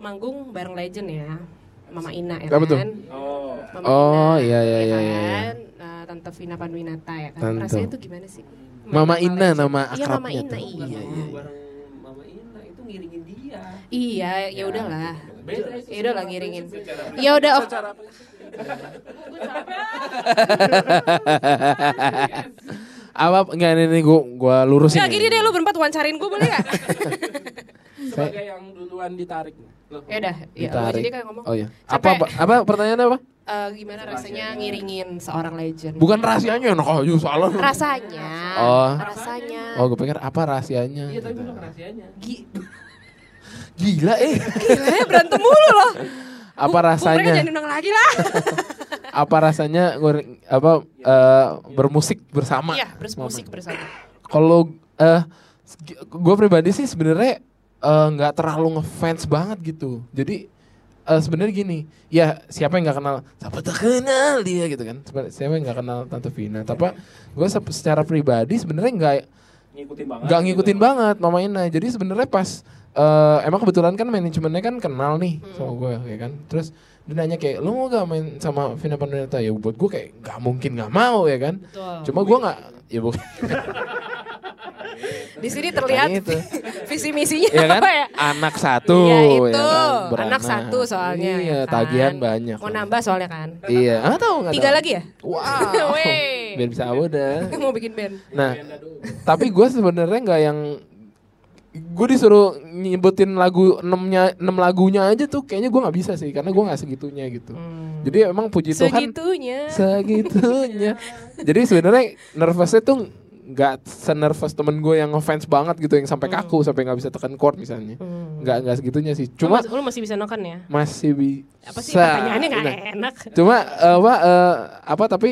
Speaker 1: manggung bareng Legend ya, Mama Ina ya
Speaker 2: Apa
Speaker 1: kan?
Speaker 2: tuh?
Speaker 3: Oh.
Speaker 1: Mama
Speaker 2: Oh,
Speaker 1: Ina,
Speaker 2: iya,
Speaker 1: ya
Speaker 2: iya, iya,
Speaker 1: kan?
Speaker 2: iya.
Speaker 1: Eh, Tante Vina Panduwinata ya kan.
Speaker 2: Tante.
Speaker 1: Rasanya tuh gimana sih?
Speaker 2: Mama
Speaker 1: Main
Speaker 2: Ina
Speaker 1: Legend.
Speaker 2: nama
Speaker 1: Iya Mama
Speaker 2: akrabnya
Speaker 1: Ina
Speaker 2: tuh.
Speaker 1: iya. Iya,
Speaker 6: Iya, bareng Mama Ina itu ngiringin dia.
Speaker 1: ya udahlah.
Speaker 3: Beda itu.
Speaker 1: Ya udah lah ngiringin.
Speaker 3: Secara-
Speaker 1: Ya udah oke.
Speaker 3: secara apa?
Speaker 2: Apa enggak ini, ini gua gua lurusin.
Speaker 1: Enggak
Speaker 2: nih.
Speaker 1: Ya, gini deh lu Iya, berempat wawancarin gue boleh gak?
Speaker 3: Sebagai yang duluan ditarik. Loh.
Speaker 1: ya udah, ya lu
Speaker 2: Ditarik.
Speaker 1: jadi kan ngomong.
Speaker 2: Oh iya.
Speaker 1: Capek.
Speaker 2: Apa, apa apa pertanyaannya apa?
Speaker 1: eh, gimana rasanya ngiringin seorang legend?
Speaker 2: Bukan rahasianya enak aja salah. lu.
Speaker 1: rasanya.
Speaker 2: Oh.
Speaker 1: Rasanya.
Speaker 2: Oh, gue pikir apa rahasianya?
Speaker 3: Iya, tapi
Speaker 2: gitu.
Speaker 3: belum rahasianya.
Speaker 1: Gi-
Speaker 2: Gila eh.
Speaker 1: Gila ya berantem mulu loh.
Speaker 2: apa
Speaker 1: Bu- Bu, mereka jangan
Speaker 2: rasanya?
Speaker 1: diundang lagi lah.
Speaker 2: Apa rasanya ngor- apa eh, bermusik bersama?
Speaker 1: Iya, terus musik bersama.
Speaker 2: Kalau eh gue pribadi sih sebenarnya eh, nggak terlalu ngefans banget gitu. Jadi eh, sebenarnya gini, ya siapa yang nggak kenal? Siapa tak kenal dia gitu kan? Sebenarnya Siapa yang nggak kenal Tante Vina? Tapi gue secara pribadi sebenarnya nggak
Speaker 4: ngikutin banget.
Speaker 2: nggak ngikutin
Speaker 4: gitu.
Speaker 2: banget Mama Ina. Jadi sebenarnya pas eh, emang kebetulan kan manajemennya kan kenal nih
Speaker 1: Hmm.
Speaker 2: sama gue ya kan. Terus dia nanya kayak lu mau gak main sama Vina Panduwinata ya buat gue kayak nggak mungkin nggak mau ya kan.
Speaker 1: Betul.
Speaker 2: Cuma gue nggak ya bukan
Speaker 1: Di sini terlihat
Speaker 2: Nah, itu.
Speaker 1: visi misinya
Speaker 2: Iya kan?
Speaker 1: apa ya?
Speaker 2: Anak satu.
Speaker 1: Iya itu.
Speaker 2: ya kan?
Speaker 1: Anak
Speaker 2: Beranak.
Speaker 1: satu soalnya.
Speaker 2: Iya,
Speaker 1: ya kan?
Speaker 2: tagihan banyak.
Speaker 1: Mau nambah soalnya kan.
Speaker 2: Iya, nggak tahu nggak
Speaker 1: Tiga
Speaker 2: tahu.
Speaker 1: lagi ya?
Speaker 2: Wow.
Speaker 1: Wey.
Speaker 2: Biar bisa awet dah.
Speaker 1: Mau bikin band.
Speaker 2: Nah, tapi gue sebenarnya nggak yang gue disuruh nyebutin lagu enamnya enam lagunya aja tuh kayaknya gue nggak bisa sih karena gue nggak segitunya gitu. Jadi emang puji Tuhan
Speaker 1: Hmm. Segitunya.
Speaker 2: segitunya. Jadi sebenarnya nervousnya tuh nggak senervous temen gue yang ngefans banget gitu yang sampai
Speaker 1: Hmm.
Speaker 2: kaku sampai nggak bisa tekan chord misalnya. Nggak nggak segitunya sih.
Speaker 1: lu, Hmm.
Speaker 2: Cuma
Speaker 1: Oh, mas- lu masih bisa noken ya?
Speaker 2: masih bisa.
Speaker 1: Apa sih pertanyaannya nggak
Speaker 2: Nah,
Speaker 1: enak?
Speaker 2: Cuma eh, apa eh, apa tapi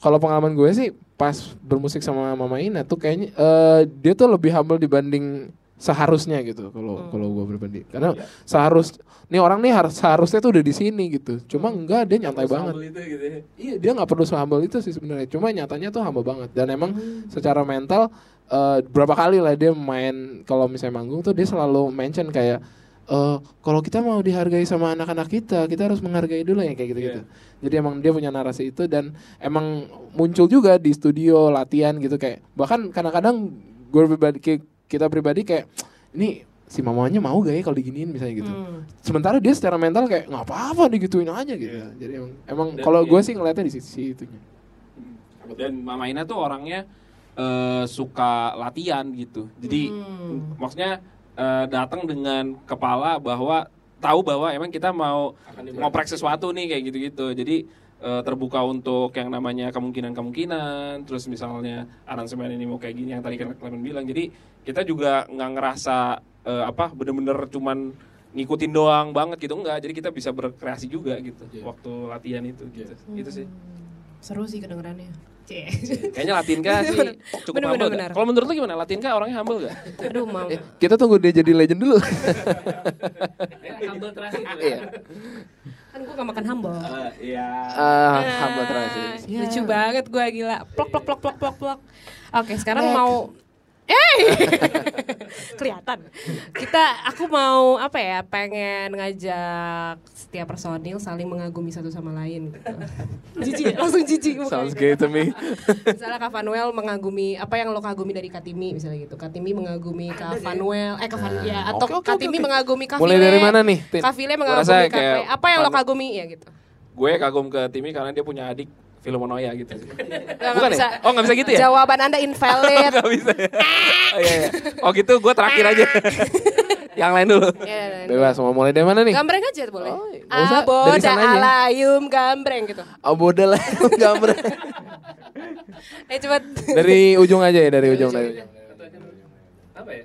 Speaker 2: kalau pengalaman gue sih pas bermusik sama Mama Ina tuh kayaknya eh, dia tuh lebih humble dibanding seharusnya gitu kalau kalau gue pribadi karena seharus nih orang nih harus seharusnya tuh udah di sini gitu cuma enggak dia nyantai banget
Speaker 4: Sambil Itu gitu ya.
Speaker 2: iya dia nggak perlu sehumble itu sih sebenarnya cuma nyatanya tuh humble banget dan emang secara mental eh, berapa kali lah dia main kalau misalnya manggung tuh dia selalu mention kayak eh kalau kita mau dihargai sama anak-anak kita kita harus menghargai dulu ya kayak gitu-gitu jadi emang dia punya narasi itu dan emang muncul juga di studio latihan gitu kayak bahkan kadang-kadang gue pribadi kayak- kita pribadi kayak ini si mamanya mau gak ya kalau diginiin misalnya gitu
Speaker 1: Hmm.
Speaker 2: sementara dia secara mental kayak nggak apa-apa digituin aja gitu
Speaker 5: Iya.
Speaker 2: jadi emang emang
Speaker 4: Dan
Speaker 2: kalau
Speaker 4: iya.
Speaker 2: gue sih ngeliatnya di sisi itunya
Speaker 4: Dan Mama Ina tuh orangnya eh, suka latihan gitu. Jadi maksudnya eh, datang dengan kepala bahwa tahu bahwa emang kita mau
Speaker 3: Akan dibantu.
Speaker 4: ngoprek sesuatu nih kayak gitu-gitu. Jadi eh, terbuka untuk yang namanya kemungkinan-kemungkinan. Terus misalnya aransemen ini mau kayak gini yang tadi kan kalian bilang. Jadi kita juga nggak ngerasa eh, apa bener-bener cuman ngikutin doang banget gitu enggak. Jadi kita bisa berkreasi juga gitu waktu latihan itu gitu. Itu sih.
Speaker 1: Seru sih kedengerannya. Cie.
Speaker 4: Kayaknya Latin kah sih
Speaker 1: Bener.
Speaker 4: cukup
Speaker 1: Bener,
Speaker 4: humble
Speaker 1: bener,
Speaker 4: gak?
Speaker 1: bener.
Speaker 4: Kalau menurut lu gimana? Latin kah orangnya humble gak?
Speaker 1: Aduh, mau.
Speaker 2: kita tunggu dia jadi legend dulu
Speaker 1: Iya,
Speaker 2: Iya.
Speaker 6: Eh, humble trust itu. ya.
Speaker 1: Kan gue gak makan humble.
Speaker 3: Eh, Iya.
Speaker 2: Ah,
Speaker 1: Ah,
Speaker 2: hamba terakhir
Speaker 1: Lucu banget gue gila. Plok plok plok plok plok plok. Oke, sekarang mau Eh, kelihatan. Kita, aku mau apa ya? Pengen ngajak setiap personil saling mengagumi satu sama lain. Gitu. jijik, langsung jijik.
Speaker 2: sounds
Speaker 1: mukanya.
Speaker 2: gay to me
Speaker 1: Misalnya Kak Vanuel mengagumi apa yang lo kagumi dari Katimi misalnya gitu. Katimi mengagumi Kak Vanuel, eh Kak Van- ya atau
Speaker 2: Ah, oke, oke,
Speaker 1: Katimi
Speaker 2: oke.
Speaker 1: mengagumi Kak
Speaker 2: Mulai
Speaker 1: Vile.
Speaker 2: dari mana nih, Tin?
Speaker 1: Kak Vile
Speaker 4: Gua rasa
Speaker 1: mengagumi Kak
Speaker 4: kayak
Speaker 1: Vile. Apa yang lo
Speaker 4: Van-
Speaker 1: kagumi ya gitu.
Speaker 4: Gue kagum ke Timmy karena dia punya adik Filmonoya gitu.
Speaker 1: Nggak
Speaker 4: Bukan
Speaker 1: bisa.
Speaker 4: ya? Oh nggak bisa gitu ya?
Speaker 1: Jawaban Anda invalid.
Speaker 4: Nggak bisa ya? Oh, iya, iya. oh gitu, gue terakhir aja. Yang lain dulu.
Speaker 1: Ya, dan-
Speaker 2: Bebas mau mulai dari mana nih?
Speaker 1: Gambreng aja boleh.
Speaker 2: Oh, nggak usah, dari
Speaker 1: Aboda
Speaker 2: sana aja.
Speaker 1: alayum gambreng gitu.
Speaker 2: Oh bodoh lah gambar.
Speaker 1: Eh coba.
Speaker 2: Dari ujung aja ya dari ujung dari. ujung.
Speaker 6: Apa ya?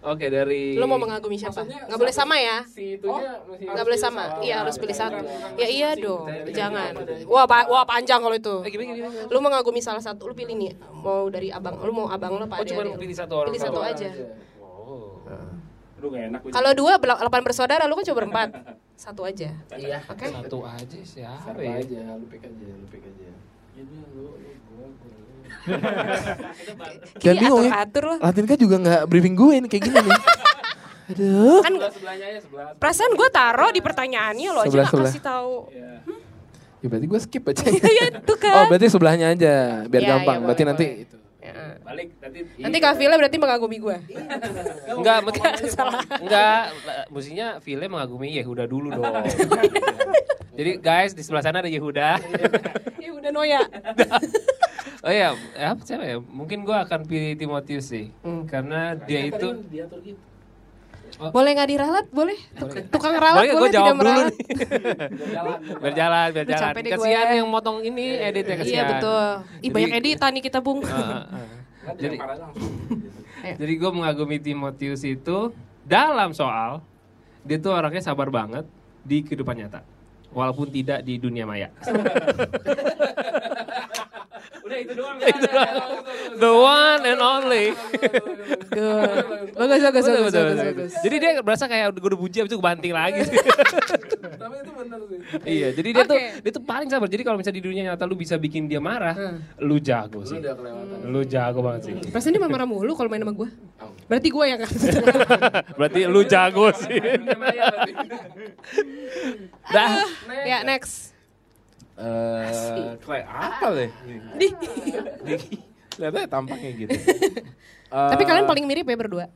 Speaker 6: Oke dari
Speaker 1: Lu mau mengagumi siapa?
Speaker 6: Maksudnya
Speaker 1: Nggak boleh
Speaker 6: satu-
Speaker 1: sama ya.
Speaker 6: Si itunya masih
Speaker 1: Nggak boleh sama. Iya harus pilih satu. Ya iya dong. Jangan. Wah, pa- wah panjang kalau itu.
Speaker 6: Iya, Eh, gimana, gimana?
Speaker 1: Lu mengagumi salah satu, lu pilih nih. Mau dari abang, lu mau abang lu apa
Speaker 6: Oh, cuma
Speaker 1: adik-adik lu?
Speaker 6: pilih satu orang.
Speaker 1: Pilih satu
Speaker 6: doang.
Speaker 1: aja.
Speaker 6: Oh.
Speaker 3: Aduh gak enak. gua
Speaker 1: Kalau dua, bela- delapan bersaudara, lu kan cuma berempat. Satu aja.
Speaker 6: Iya,
Speaker 1: Oke.
Speaker 6: satu aja siapa
Speaker 5: Apa
Speaker 6: ya?
Speaker 5: aja, lu pick aja, lu pick aja.
Speaker 2: Dan
Speaker 1: Ki,
Speaker 2: bingung
Speaker 1: Iya, atur,
Speaker 2: ya.
Speaker 1: atur lah.
Speaker 2: Latinka juga nggak briefing gue ini kayak gini nih. Aduh.
Speaker 1: Kan
Speaker 3: sebelahnya aja sebelah.
Speaker 1: perasaan gue taro di pertanyaannya lo aja
Speaker 2: Sebelah,
Speaker 1: nggak
Speaker 2: sebelah.
Speaker 1: kasih tahu.
Speaker 2: Ya berarti gue skip aja.
Speaker 1: Iya itu
Speaker 2: Oh
Speaker 1: kan.
Speaker 2: berarti sebelahnya aja biar
Speaker 1: Iya,
Speaker 2: gampang.
Speaker 1: iya,
Speaker 2: berarti
Speaker 1: boleh,
Speaker 2: nanti
Speaker 1: boleh. Ya.
Speaker 6: Balik nanti.
Speaker 1: Nanti Kak Vila berarti mengagumi gue.
Speaker 6: Enggak, Enggak, mestinya Vile mengagumi Yehuda dulu dong. Jadi guys, di sebelah sana ada Yehuda.
Speaker 1: ya udah Noya.
Speaker 6: Oh iya, eh, apa siapa ya? Mungkin gua akan pilih Timotius sih.
Speaker 3: Hmm.
Speaker 6: Karena dia itu
Speaker 1: Boleh nggak diralat? Boleh. Tuk- Tukang ralat
Speaker 6: Boleh
Speaker 1: boleh,
Speaker 6: gue jawab
Speaker 1: tidak
Speaker 6: dulu
Speaker 1: meralat.
Speaker 6: nih. berjalan, berjalan.
Speaker 1: capek deh
Speaker 6: Kasihan
Speaker 3: ya.
Speaker 1: gue.
Speaker 6: yang motong ini editnya kasihan.
Speaker 1: Iya betul. Ih
Speaker 6: Jadi- Ah.
Speaker 1: banyak editan nih kita bung.
Speaker 6: Heeh, heeh. Jadi
Speaker 3: Parah langsung.
Speaker 6: Jadi gue mengagumi Timotius itu dalam soal dia tuh orangnya sabar banget di kehidupan nyata, walaupun tidak di dunia maya.
Speaker 3: Udah itu doang.
Speaker 6: The one and only.
Speaker 1: Good. Bagus bagus bagus
Speaker 6: Betul, betul,
Speaker 1: bagus.
Speaker 6: betul.
Speaker 1: bagus.
Speaker 6: Jadi dia berasa kayak gue udah puji abis itu gue banting lagi.
Speaker 3: Tapi itu bener sih.
Speaker 6: iya, jadi dia tuh
Speaker 1: Oke.
Speaker 6: dia tuh paling sabar. Jadi kalau misalnya di dunia nyata lu bisa bikin dia marah,
Speaker 3: Hmm.
Speaker 6: lu jago
Speaker 4: Iya.
Speaker 6: sih. Lu jago banget sih.
Speaker 1: Perasaan dia marah mulu kalau main sama gue.
Speaker 6: Oh.
Speaker 1: Berarti gue yang nggak-
Speaker 6: Berarti lu jago sih. Dah.
Speaker 1: ya next.
Speaker 4: Eh, kayak apa deh?
Speaker 1: Dih.
Speaker 4: Lihatnya tampaknya gitu. Eh,
Speaker 1: Tapi kalian paling mirip ya berdua.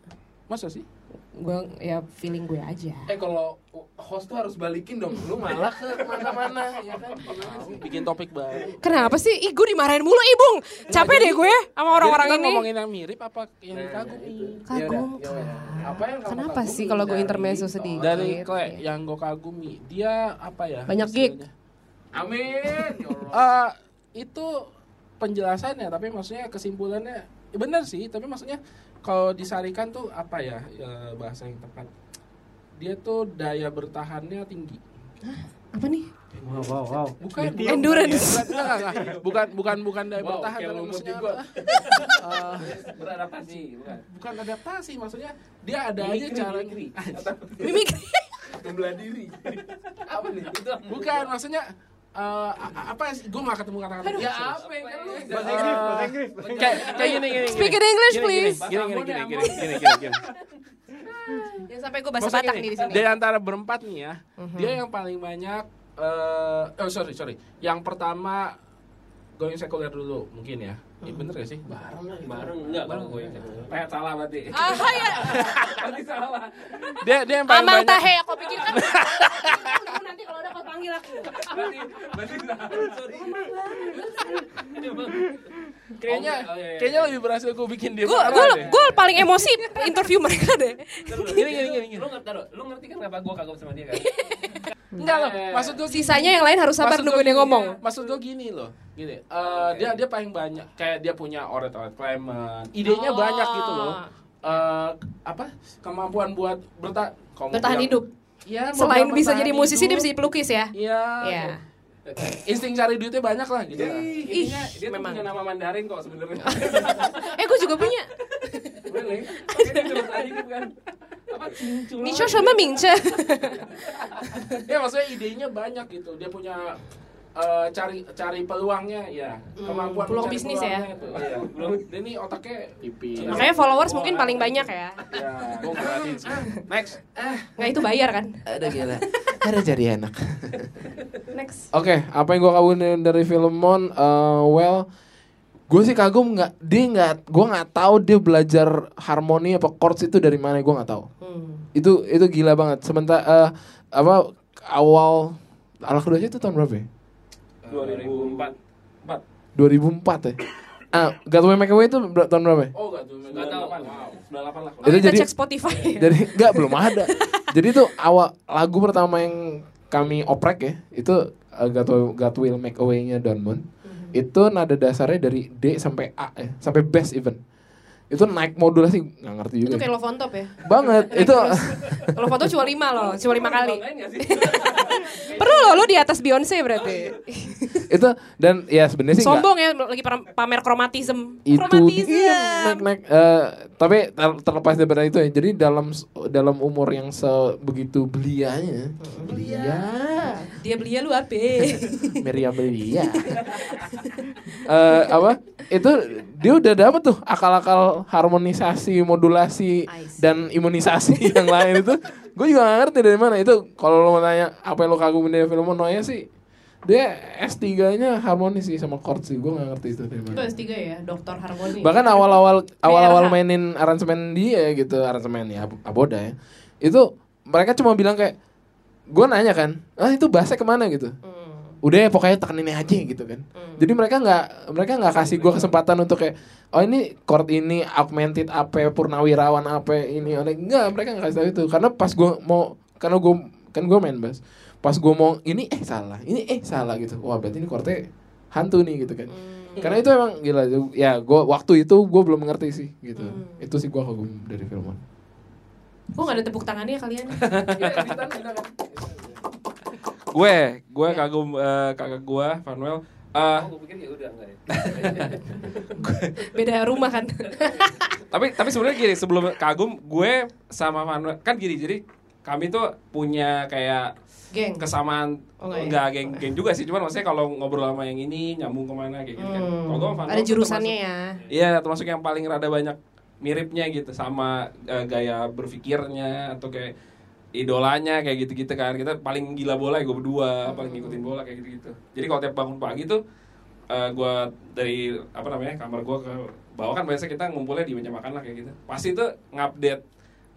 Speaker 4: Masa sih?
Speaker 1: Gue ya feeling gue aja.
Speaker 3: Eh kalau host tuh harus balikin dong. Lu malah ke mana-mana ya kan. Gimana sih?
Speaker 4: Bikin topik baru.
Speaker 1: Kenapa sih? Ih gue dimarahin mulu ih bung.
Speaker 6: Nah,
Speaker 1: Capek deh gue sama orang-orang
Speaker 4: Jadi kita
Speaker 1: ini.
Speaker 4: ngomongin yang mirip apa yang
Speaker 6: nah,
Speaker 4: dikagumi?
Speaker 1: Kagum.
Speaker 4: iya,
Speaker 3: Apa yang kamu
Speaker 1: Kenapa
Speaker 3: kagumi
Speaker 1: sih kalau gue
Speaker 3: dari-
Speaker 1: intermezzo sedikit?
Speaker 4: Dari
Speaker 1: Gitu
Speaker 4: kayak
Speaker 1: ya.
Speaker 4: yang gue kagumi, dia apa ya?
Speaker 1: Banyak gig.
Speaker 4: istilahnya?
Speaker 3: Amin. ya Allah.
Speaker 4: Eh, itu penjelasannya tapi maksudnya kesimpulannya ya benar sih tapi maksudnya kalau disarikan tuh apa ya eh, bahasa yang tepat dia tuh daya bertahannya tinggi
Speaker 1: Apa nih?
Speaker 3: Oh,
Speaker 4: bukan bukan-
Speaker 1: Endurance.
Speaker 4: bukan, enggak, enggak, enggak. bukan bukan bukan daya
Speaker 3: Iya, Wow,
Speaker 4: bertahan
Speaker 3: kayak
Speaker 4: tapi
Speaker 3: lumut
Speaker 4: maksudnya
Speaker 3: juga.
Speaker 4: apa? Eh,
Speaker 3: Beradaptasi bukan.
Speaker 4: bukan adaptasi maksudnya dia ada aja cara
Speaker 1: Mimik.
Speaker 3: Membelah diri. Apa nih? Itu
Speaker 4: bukan maksudnya eh, a- a- apa sih gue gak ketemu kata-kata gitu,
Speaker 3: ya apa yang kan lu?
Speaker 5: Bahasa Inggris, bahasa Inggris.
Speaker 6: Kayak kayak gini gini.
Speaker 1: Speak in English please.
Speaker 6: Gini gini gini gini gini gini.
Speaker 1: Jangan sampai gue bahasa
Speaker 4: Maksudnya
Speaker 1: Batak
Speaker 4: gini,
Speaker 1: nih di sini. Mhm.
Speaker 4: Dari antara berempat nih ya, dia yang paling banyak eh oh sorry sorry, yang pertama going sekuler dulu mungkin ya. Iya
Speaker 1: Mhm.
Speaker 4: bener gak sih? Bareng lah.
Speaker 6: Bareng enggak bareng gue.
Speaker 3: Kayak salah berarti.
Speaker 1: Ah ya.
Speaker 3: Berarti salah.
Speaker 4: Dia dia yang paling
Speaker 1: Amang
Speaker 4: banyak.
Speaker 1: tahe aku pikir kan. Lu nanti kalau udah kau panggil aku.
Speaker 3: Berarti berarti salah. Sorry.
Speaker 4: Kayaknya
Speaker 6: Oh, iya, iya.
Speaker 4: kayaknya lebih berhasil gue bikin dia.
Speaker 1: Gue
Speaker 4: marah
Speaker 1: gue
Speaker 4: deh.
Speaker 1: gue paling emosi interview mereka deh.
Speaker 6: Gini gini gini. Lu ngerti lu ngerti kan kenapa gue kagum sama dia kan?
Speaker 4: Enggak loh, maksud gue
Speaker 1: Sisanya yang lain harus sabar
Speaker 4: Eh, Maksud
Speaker 1: nunggu
Speaker 4: gua
Speaker 1: dia
Speaker 4: gini,
Speaker 1: ngomong.
Speaker 4: ya, Maksud gue gini loh, gini. Eh, Dia dia paling banyak, kayak dia punya oret-oret Clement. Idenya
Speaker 1: Oh.
Speaker 4: banyak gitu loh. Eh, apa kemampuan buat berta kamu
Speaker 1: Ah, Bertahan
Speaker 4: bilang-
Speaker 1: hidup.
Speaker 4: Iya, mau
Speaker 1: Selain
Speaker 4: bilang
Speaker 1: bisa
Speaker 4: bertahan
Speaker 1: jadi musisi dia
Speaker 4: hidup,
Speaker 1: bisa jadi pelukis ya.
Speaker 4: Iya.
Speaker 1: Iya.
Speaker 4: Insting cari duitnya banyak lah gitu. lah.
Speaker 1: Ih,
Speaker 3: Dia tuh
Speaker 1: memang.
Speaker 3: punya nama Mandarin kok sebenarnya.
Speaker 1: Eh gue juga punya.
Speaker 3: Boleh. Tapi dia tuh bahasa Inggris kan. Apa cincul?
Speaker 1: Ni shou sama Mingce.
Speaker 4: Iya. Ya maksudnya idenya banyak gitu. Dia punya eh, cari cari peluangnya ya
Speaker 1: Hmm.
Speaker 4: kemampuan
Speaker 1: peluang
Speaker 4: mencari
Speaker 1: bisnis ya.
Speaker 4: peluangnya itu, iya. Dia ini otaknya tipis.
Speaker 1: Makanya followers mungkin paling banyak ya.
Speaker 4: Ya, gua ngeratin sih.
Speaker 6: Next.
Speaker 1: Nggak itu bayar kan?
Speaker 2: Ada gila. Ada jadi enak.
Speaker 1: Next.
Speaker 2: Oke, apa yang gua kagumin dari Filmon? eh, well, gue sih kagum nggak dia nggak gue nggak tahu dia belajar harmoni apa chords itu dari mana gue nggak tahu
Speaker 1: Hmm.
Speaker 2: itu itu gila banget sementara eh, apa awal anak kedua itu tahun berapa ya?
Speaker 3: 2004. Empat.
Speaker 2: 2004 ya. Ah, Gateway Makeaway itu ber- tahun berapa? ya?
Speaker 3: Oh enggak tuh. Enggak tahu. Wow. 98 lah.
Speaker 1: Oh,
Speaker 2: Itu
Speaker 1: kita
Speaker 2: jadi-
Speaker 1: cek Spotify. Ya?
Speaker 2: Jadi enggak belum ada. Jadi itu awal lagu pertama yang kami oprek ya, itu uh, God Will, God Will Make Away-nya Don Moon.
Speaker 1: Mm-hmm.
Speaker 2: Itu nada dasarnya dari D sampai A ya, sampai best even. Itu naik modulasi nggak ngerti juga.
Speaker 1: Itu
Speaker 2: ya.
Speaker 1: kayak Lofontop ya.
Speaker 2: Banget itu
Speaker 1: Lofontop cuma lima loh, cuma lima kali.
Speaker 4: Lain nggak sih?
Speaker 1: Perlu loh lu di atas Beyonce berarti.
Speaker 2: itu dan ya sebenarnya sih nggak-
Speaker 1: Sombong ya lagi pam- pamer kromatism.
Speaker 2: itu dia
Speaker 1: kromatism.
Speaker 2: naik naik eh, tapi ter- terlepas daripada itu ya jadi dalam s- dalam umur yang sebegitu belianya belia
Speaker 1: Dia belia lu apa?
Speaker 2: Meriam belia Eh, apa itu dia udah dapat tuh akal-akal harmonisasi modulasi
Speaker 1: I see.
Speaker 2: dan imunisasi yang lain itu gue juga gak ngerti dari mana itu kalau lo mau tanya apa yang lo kagumin dari film Noya sih dia S3 nya harmonis sih sama chord sih gue gak ngerti itu dari
Speaker 1: itu
Speaker 2: mana
Speaker 1: S3 ya, Doktor Harmoni.
Speaker 2: bahkan awal-awal awal-awal
Speaker 1: PRH.
Speaker 2: mainin aransemen dia gitu aransemen ya ab- aboda ya itu mereka cuma bilang kayak gue nanya kan ah itu bahasa kemana gitu
Speaker 1: Hmm.
Speaker 2: udah ya pokoknya tekenin aja gitu kan jadi mereka nggak mereka nggak kasih gue kesempatan untuk kayak oh ini chord ini augmented apa purnawirawan apa ini oleh nggak mereka nggak kasih tahu itu karena pas gue mau karena gue kan gue main bass pas gue mau ini eh salah ini eh salah gitu wah berarti ini chordnya hantu nih gitu kan
Speaker 1: Hmm.
Speaker 2: karena itu emang gila ya gue waktu itu gue belum mengerti sih gitu
Speaker 1: Hmm.
Speaker 2: itu sih gue kagum dari filman
Speaker 1: Kok gak ada tepuk tangannya kalian?
Speaker 4: Gue, gue kagum eh, kakak gue, Manuel. Eh,
Speaker 3: Gue pikir ya udah enggak ya.
Speaker 1: Beda rumah kan?
Speaker 4: tapi tapi sebenarnya gini sebelum kagum gue sama Manuel kan gini jadi kami tuh punya kayak
Speaker 1: Geng.
Speaker 4: kesamaan
Speaker 1: Oh, enggak ya?
Speaker 4: enggak geng geng juga sih cuman maksudnya kalau ngobrol sama yang ini nyambung kemana kayak gitu kan
Speaker 1: Hmm.
Speaker 4: Kalau gue sama Manuel
Speaker 1: Ada
Speaker 4: tuh
Speaker 1: jurusannya
Speaker 4: termasuk-
Speaker 1: ya.
Speaker 4: Iya, termasuk yang paling rada banyak miripnya gitu sama eh, gaya berpikirnya atau kayak idolanya kayak gitu-gitu kan. Kita paling gila bola ya gue berdua, paling ngikutin
Speaker 1: Hmm.
Speaker 4: bola kayak gitu-gitu. Jadi kalau tiap bangun pagi tuh eh, gua dari apa namanya kamar gua ke bawah kan biasa kita ngumpulnya di meja makan lah kayak gitu. Pasti tuh ngupdate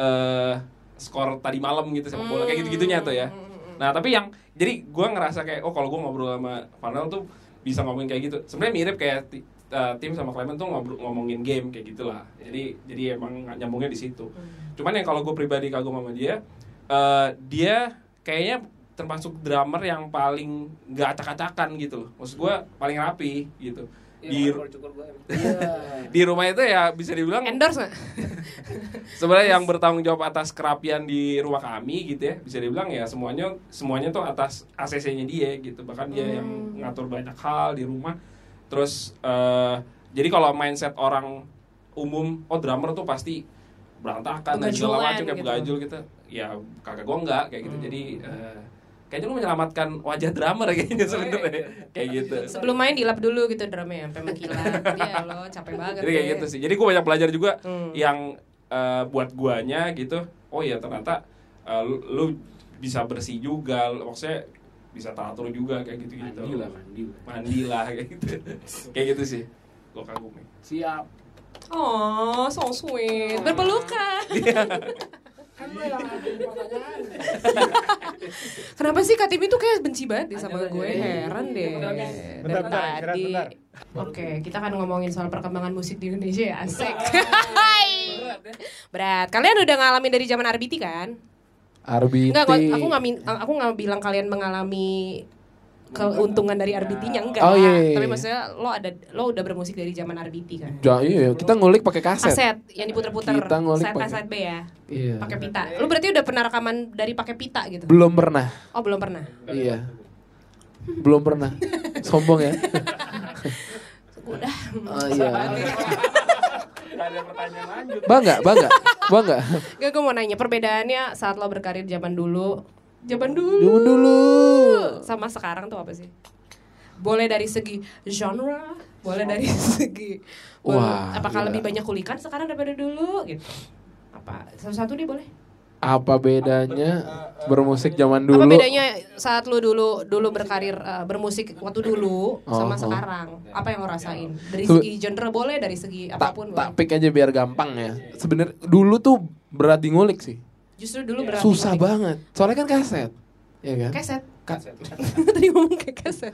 Speaker 4: eh skor tadi malam gitu sama bola kayak gitu-gitunya tuh ya. Nah, tapi yang jadi gua ngerasa kayak oh kalau gua ngobrol sama Vanel tuh bisa ngomongin kayak gitu. Sebenarnya mirip kayak ti- eh, tim sama Clement tuh ngobrol ngomongin game kayak gitulah. Jadi jadi emang nyambungnya di situ. Cuman yang kalau gue pribadi kagum sama dia, eh, dia kayaknya termasuk drummer yang paling nggak acak-acakan gitu loh. Maksud gue paling rapi gitu.
Speaker 6: Iya,
Speaker 4: Di,
Speaker 3: cukur gue.
Speaker 4: di rumah itu ya bisa dibilang
Speaker 1: Endorse gak?
Speaker 4: sebenarnya yang bertanggung jawab atas kerapian di rumah kami gitu ya bisa dibilang ya semuanya semuanya tuh atas ACC-nya dia gitu bahkan dia yang ngatur banyak hal di rumah terus eh, jadi kalau mindset orang umum oh drummer tuh pasti berantakan dan
Speaker 1: Begajulan
Speaker 4: segala macam kayak
Speaker 1: gitu.
Speaker 4: begajul gitu ya kakak gua enggak kayak gitu jadi eh, kayaknya lu menyelamatkan wajah drummer kayaknya sebenarnya kayak gitu
Speaker 1: Sebelum main dilap dulu gitu drumnya sampai mengkilat. Ya lo capek banget.
Speaker 4: jadi kayak
Speaker 1: ya.
Speaker 4: gitu sih. Jadi gue banyak belajar juga
Speaker 1: Hmm.
Speaker 4: yang eh, buat guanya gitu. Oh iya ternyata eh, lu, lu bisa bersih juga, lu- maksudnya bisa teratur juga kayak gitu gitu.
Speaker 3: Mandi lah, mandi lah.
Speaker 4: Mandi lah kayak gitu. kayak gitu sih. Gue kagum ya? nih.
Speaker 3: Siap.
Speaker 1: Oh, so sweet. Berpelukan.
Speaker 3: Kan lu yang ada pertanyaan.
Speaker 1: Kenapa sih Kak Timmy tuh kayak benci banget deh sama
Speaker 3: Ada, ada,
Speaker 1: gue?
Speaker 3: ada.
Speaker 1: Heran deh.
Speaker 3: Bentar, guys.
Speaker 1: Dari
Speaker 5: Bentar, bentar, istirahat,
Speaker 1: tadi.
Speaker 5: bentar.
Speaker 1: Oke, kita akan ngomongin soal perkembangan musik di Indonesia ya, asik. Berat. Kalian udah ngalamin dari zaman RBT kan?
Speaker 2: Arbi
Speaker 1: Enggak, gua- aku nggak min- aku nggak bilang kalian mengalami keuntungan dari RBT-nya enggak.
Speaker 2: Oh, iya, iya,
Speaker 1: Tapi
Speaker 2: iya.
Speaker 1: maksudnya lo ada lo udah bermusik dari zaman RBT kan?
Speaker 2: Ja- iya, kita ngulik pakai kaset.
Speaker 1: Kaset yang diputer-puter,
Speaker 2: Kita ngulik
Speaker 1: set A,
Speaker 2: pakai-
Speaker 1: set B ya,
Speaker 2: Iya.
Speaker 1: pakai pita. Lo berarti udah pernah rekaman dari pakai pita gitu?
Speaker 2: Belum pernah.
Speaker 1: Oh, belum pernah.
Speaker 2: Iya. Belum pernah. Sombong ya.
Speaker 1: Udah.
Speaker 2: Oh iya.
Speaker 3: Enggak ada pertanyaan lanjut.
Speaker 2: Bangga, bangga. Bangga.
Speaker 1: Gak, gue mau nanya perbedaannya saat lo berkarir zaman dulu, zaman dulu,
Speaker 2: Dulu dulu.
Speaker 1: sama sekarang tuh apa sih? Boleh dari segi genre, boleh dari segi boleh-
Speaker 2: Wah,
Speaker 1: apakah
Speaker 2: gila.
Speaker 1: lebih banyak kulikan sekarang daripada dulu gitu. Apa satu-satu deh boleh?
Speaker 2: Apa bedanya bermusik zaman
Speaker 1: Apa
Speaker 2: dulu?
Speaker 1: bedanya saat lo dulu dulu berkarir eh, bermusik waktu dulu sama
Speaker 2: Oh, oh.
Speaker 1: sekarang? Apa yang lo rasain? Dari
Speaker 2: Sebe-
Speaker 1: segi genre boleh, dari segi
Speaker 2: Tak,
Speaker 1: apapun
Speaker 2: tak
Speaker 1: boleh.
Speaker 2: pick aja biar gampang ya. Sebenarnya dulu tuh berat di ngulik sih.
Speaker 1: Justru dulu berarti
Speaker 2: Susah banget. Soalnya kan kaset. Iya kan?
Speaker 1: Keset.
Speaker 2: Ka-
Speaker 1: Tadi ngomong ke kaset.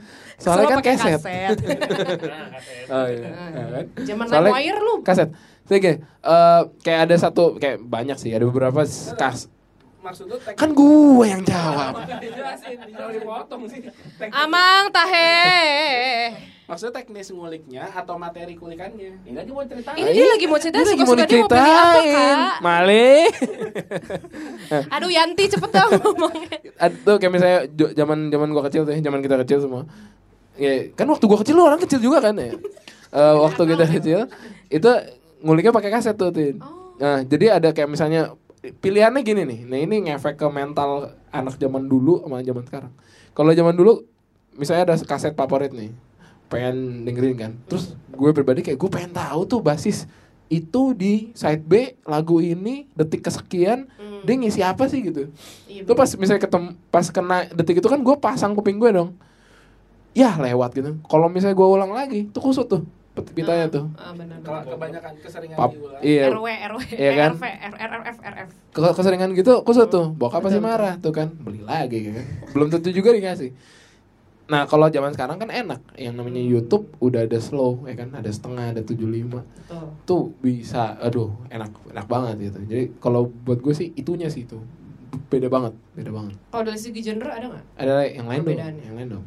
Speaker 1: Kesel
Speaker 2: Soalnya kan
Speaker 1: pakai
Speaker 2: kaset. Oh iya. ya kan?
Speaker 1: Ah. Zaman
Speaker 2: Soalnya-
Speaker 1: LimeWire lu.
Speaker 2: Kaset. Jadi kayak, eh, kayak ada satu kayak banyak sih, ada beberapa s- kas.
Speaker 3: Maksud lu tag
Speaker 2: Kan gue yang jawab.
Speaker 3: dijelasin, jangan dipotong sih. Tag-
Speaker 1: Amang tahe.
Speaker 3: Maksudnya teknis nguliknya atau materi kulikannya? Ini lagi mau ceritain.
Speaker 1: Ini dia lagi mau cerita
Speaker 2: Nah, iya. Dia lagi mau
Speaker 1: suka-suka dia mau pilih apa
Speaker 2: diceritain.
Speaker 1: kak?
Speaker 2: Male.
Speaker 1: Aduh Yanti cepet dong ngomongnya.
Speaker 2: Ad- tuh kayak misalnya jo- zaman zaman gua kecil tuh, ya, zaman kita kecil semua. Ya, kan waktu gua kecil lu orang kecil juga kan ya. Eh, waktu kita kecil itu nguliknya pakai kaset tuh, Tin. Nah, jadi ada kayak misalnya pilihannya gini nih. Nah, ini ngefek ke mental anak zaman dulu sama zaman sekarang. Kalau zaman dulu misalnya ada kaset favorit nih. Pengen dengerin kan. Terus gue pribadi kayak gue pengen tahu tuh basis itu di side B lagu ini detik kesekian dia ngisi apa sih gitu.
Speaker 1: Iya,
Speaker 2: Itu pas misalnya ketemu pas kena detik itu kan gue pasang kuping gue dong. Yah lewat gitu. Kalau misalnya gue ulang lagi, tuh kusut tuh pet- pitanya tuh.
Speaker 1: Ah, benar.
Speaker 3: Kalau kebanyakan keseringan
Speaker 2: Pap,
Speaker 3: diulang.
Speaker 2: iya.
Speaker 1: RW, RW,
Speaker 2: Iya kan?
Speaker 1: RV, RRF, RF.
Speaker 2: Kalau keseringan gitu, kusut tuh. Bokap pasti marah tuh kan. Beli lagi kan. Belum tentu juga dikasih. Nah, kalau zaman sekarang kan enak. Yang namanya YouTube udah ada slow ya kan, ada setengah, ada 75.
Speaker 1: Betul.
Speaker 2: Tuh bisa aduh, enak enak banget gitu. Jadi kalau buat gue sih itunya sih itu. Beda banget, beda banget.
Speaker 1: Kalau dari segi genre ada nggak?
Speaker 2: Ada yang lain dong,
Speaker 1: Perbedaannya.
Speaker 2: yang lain dong.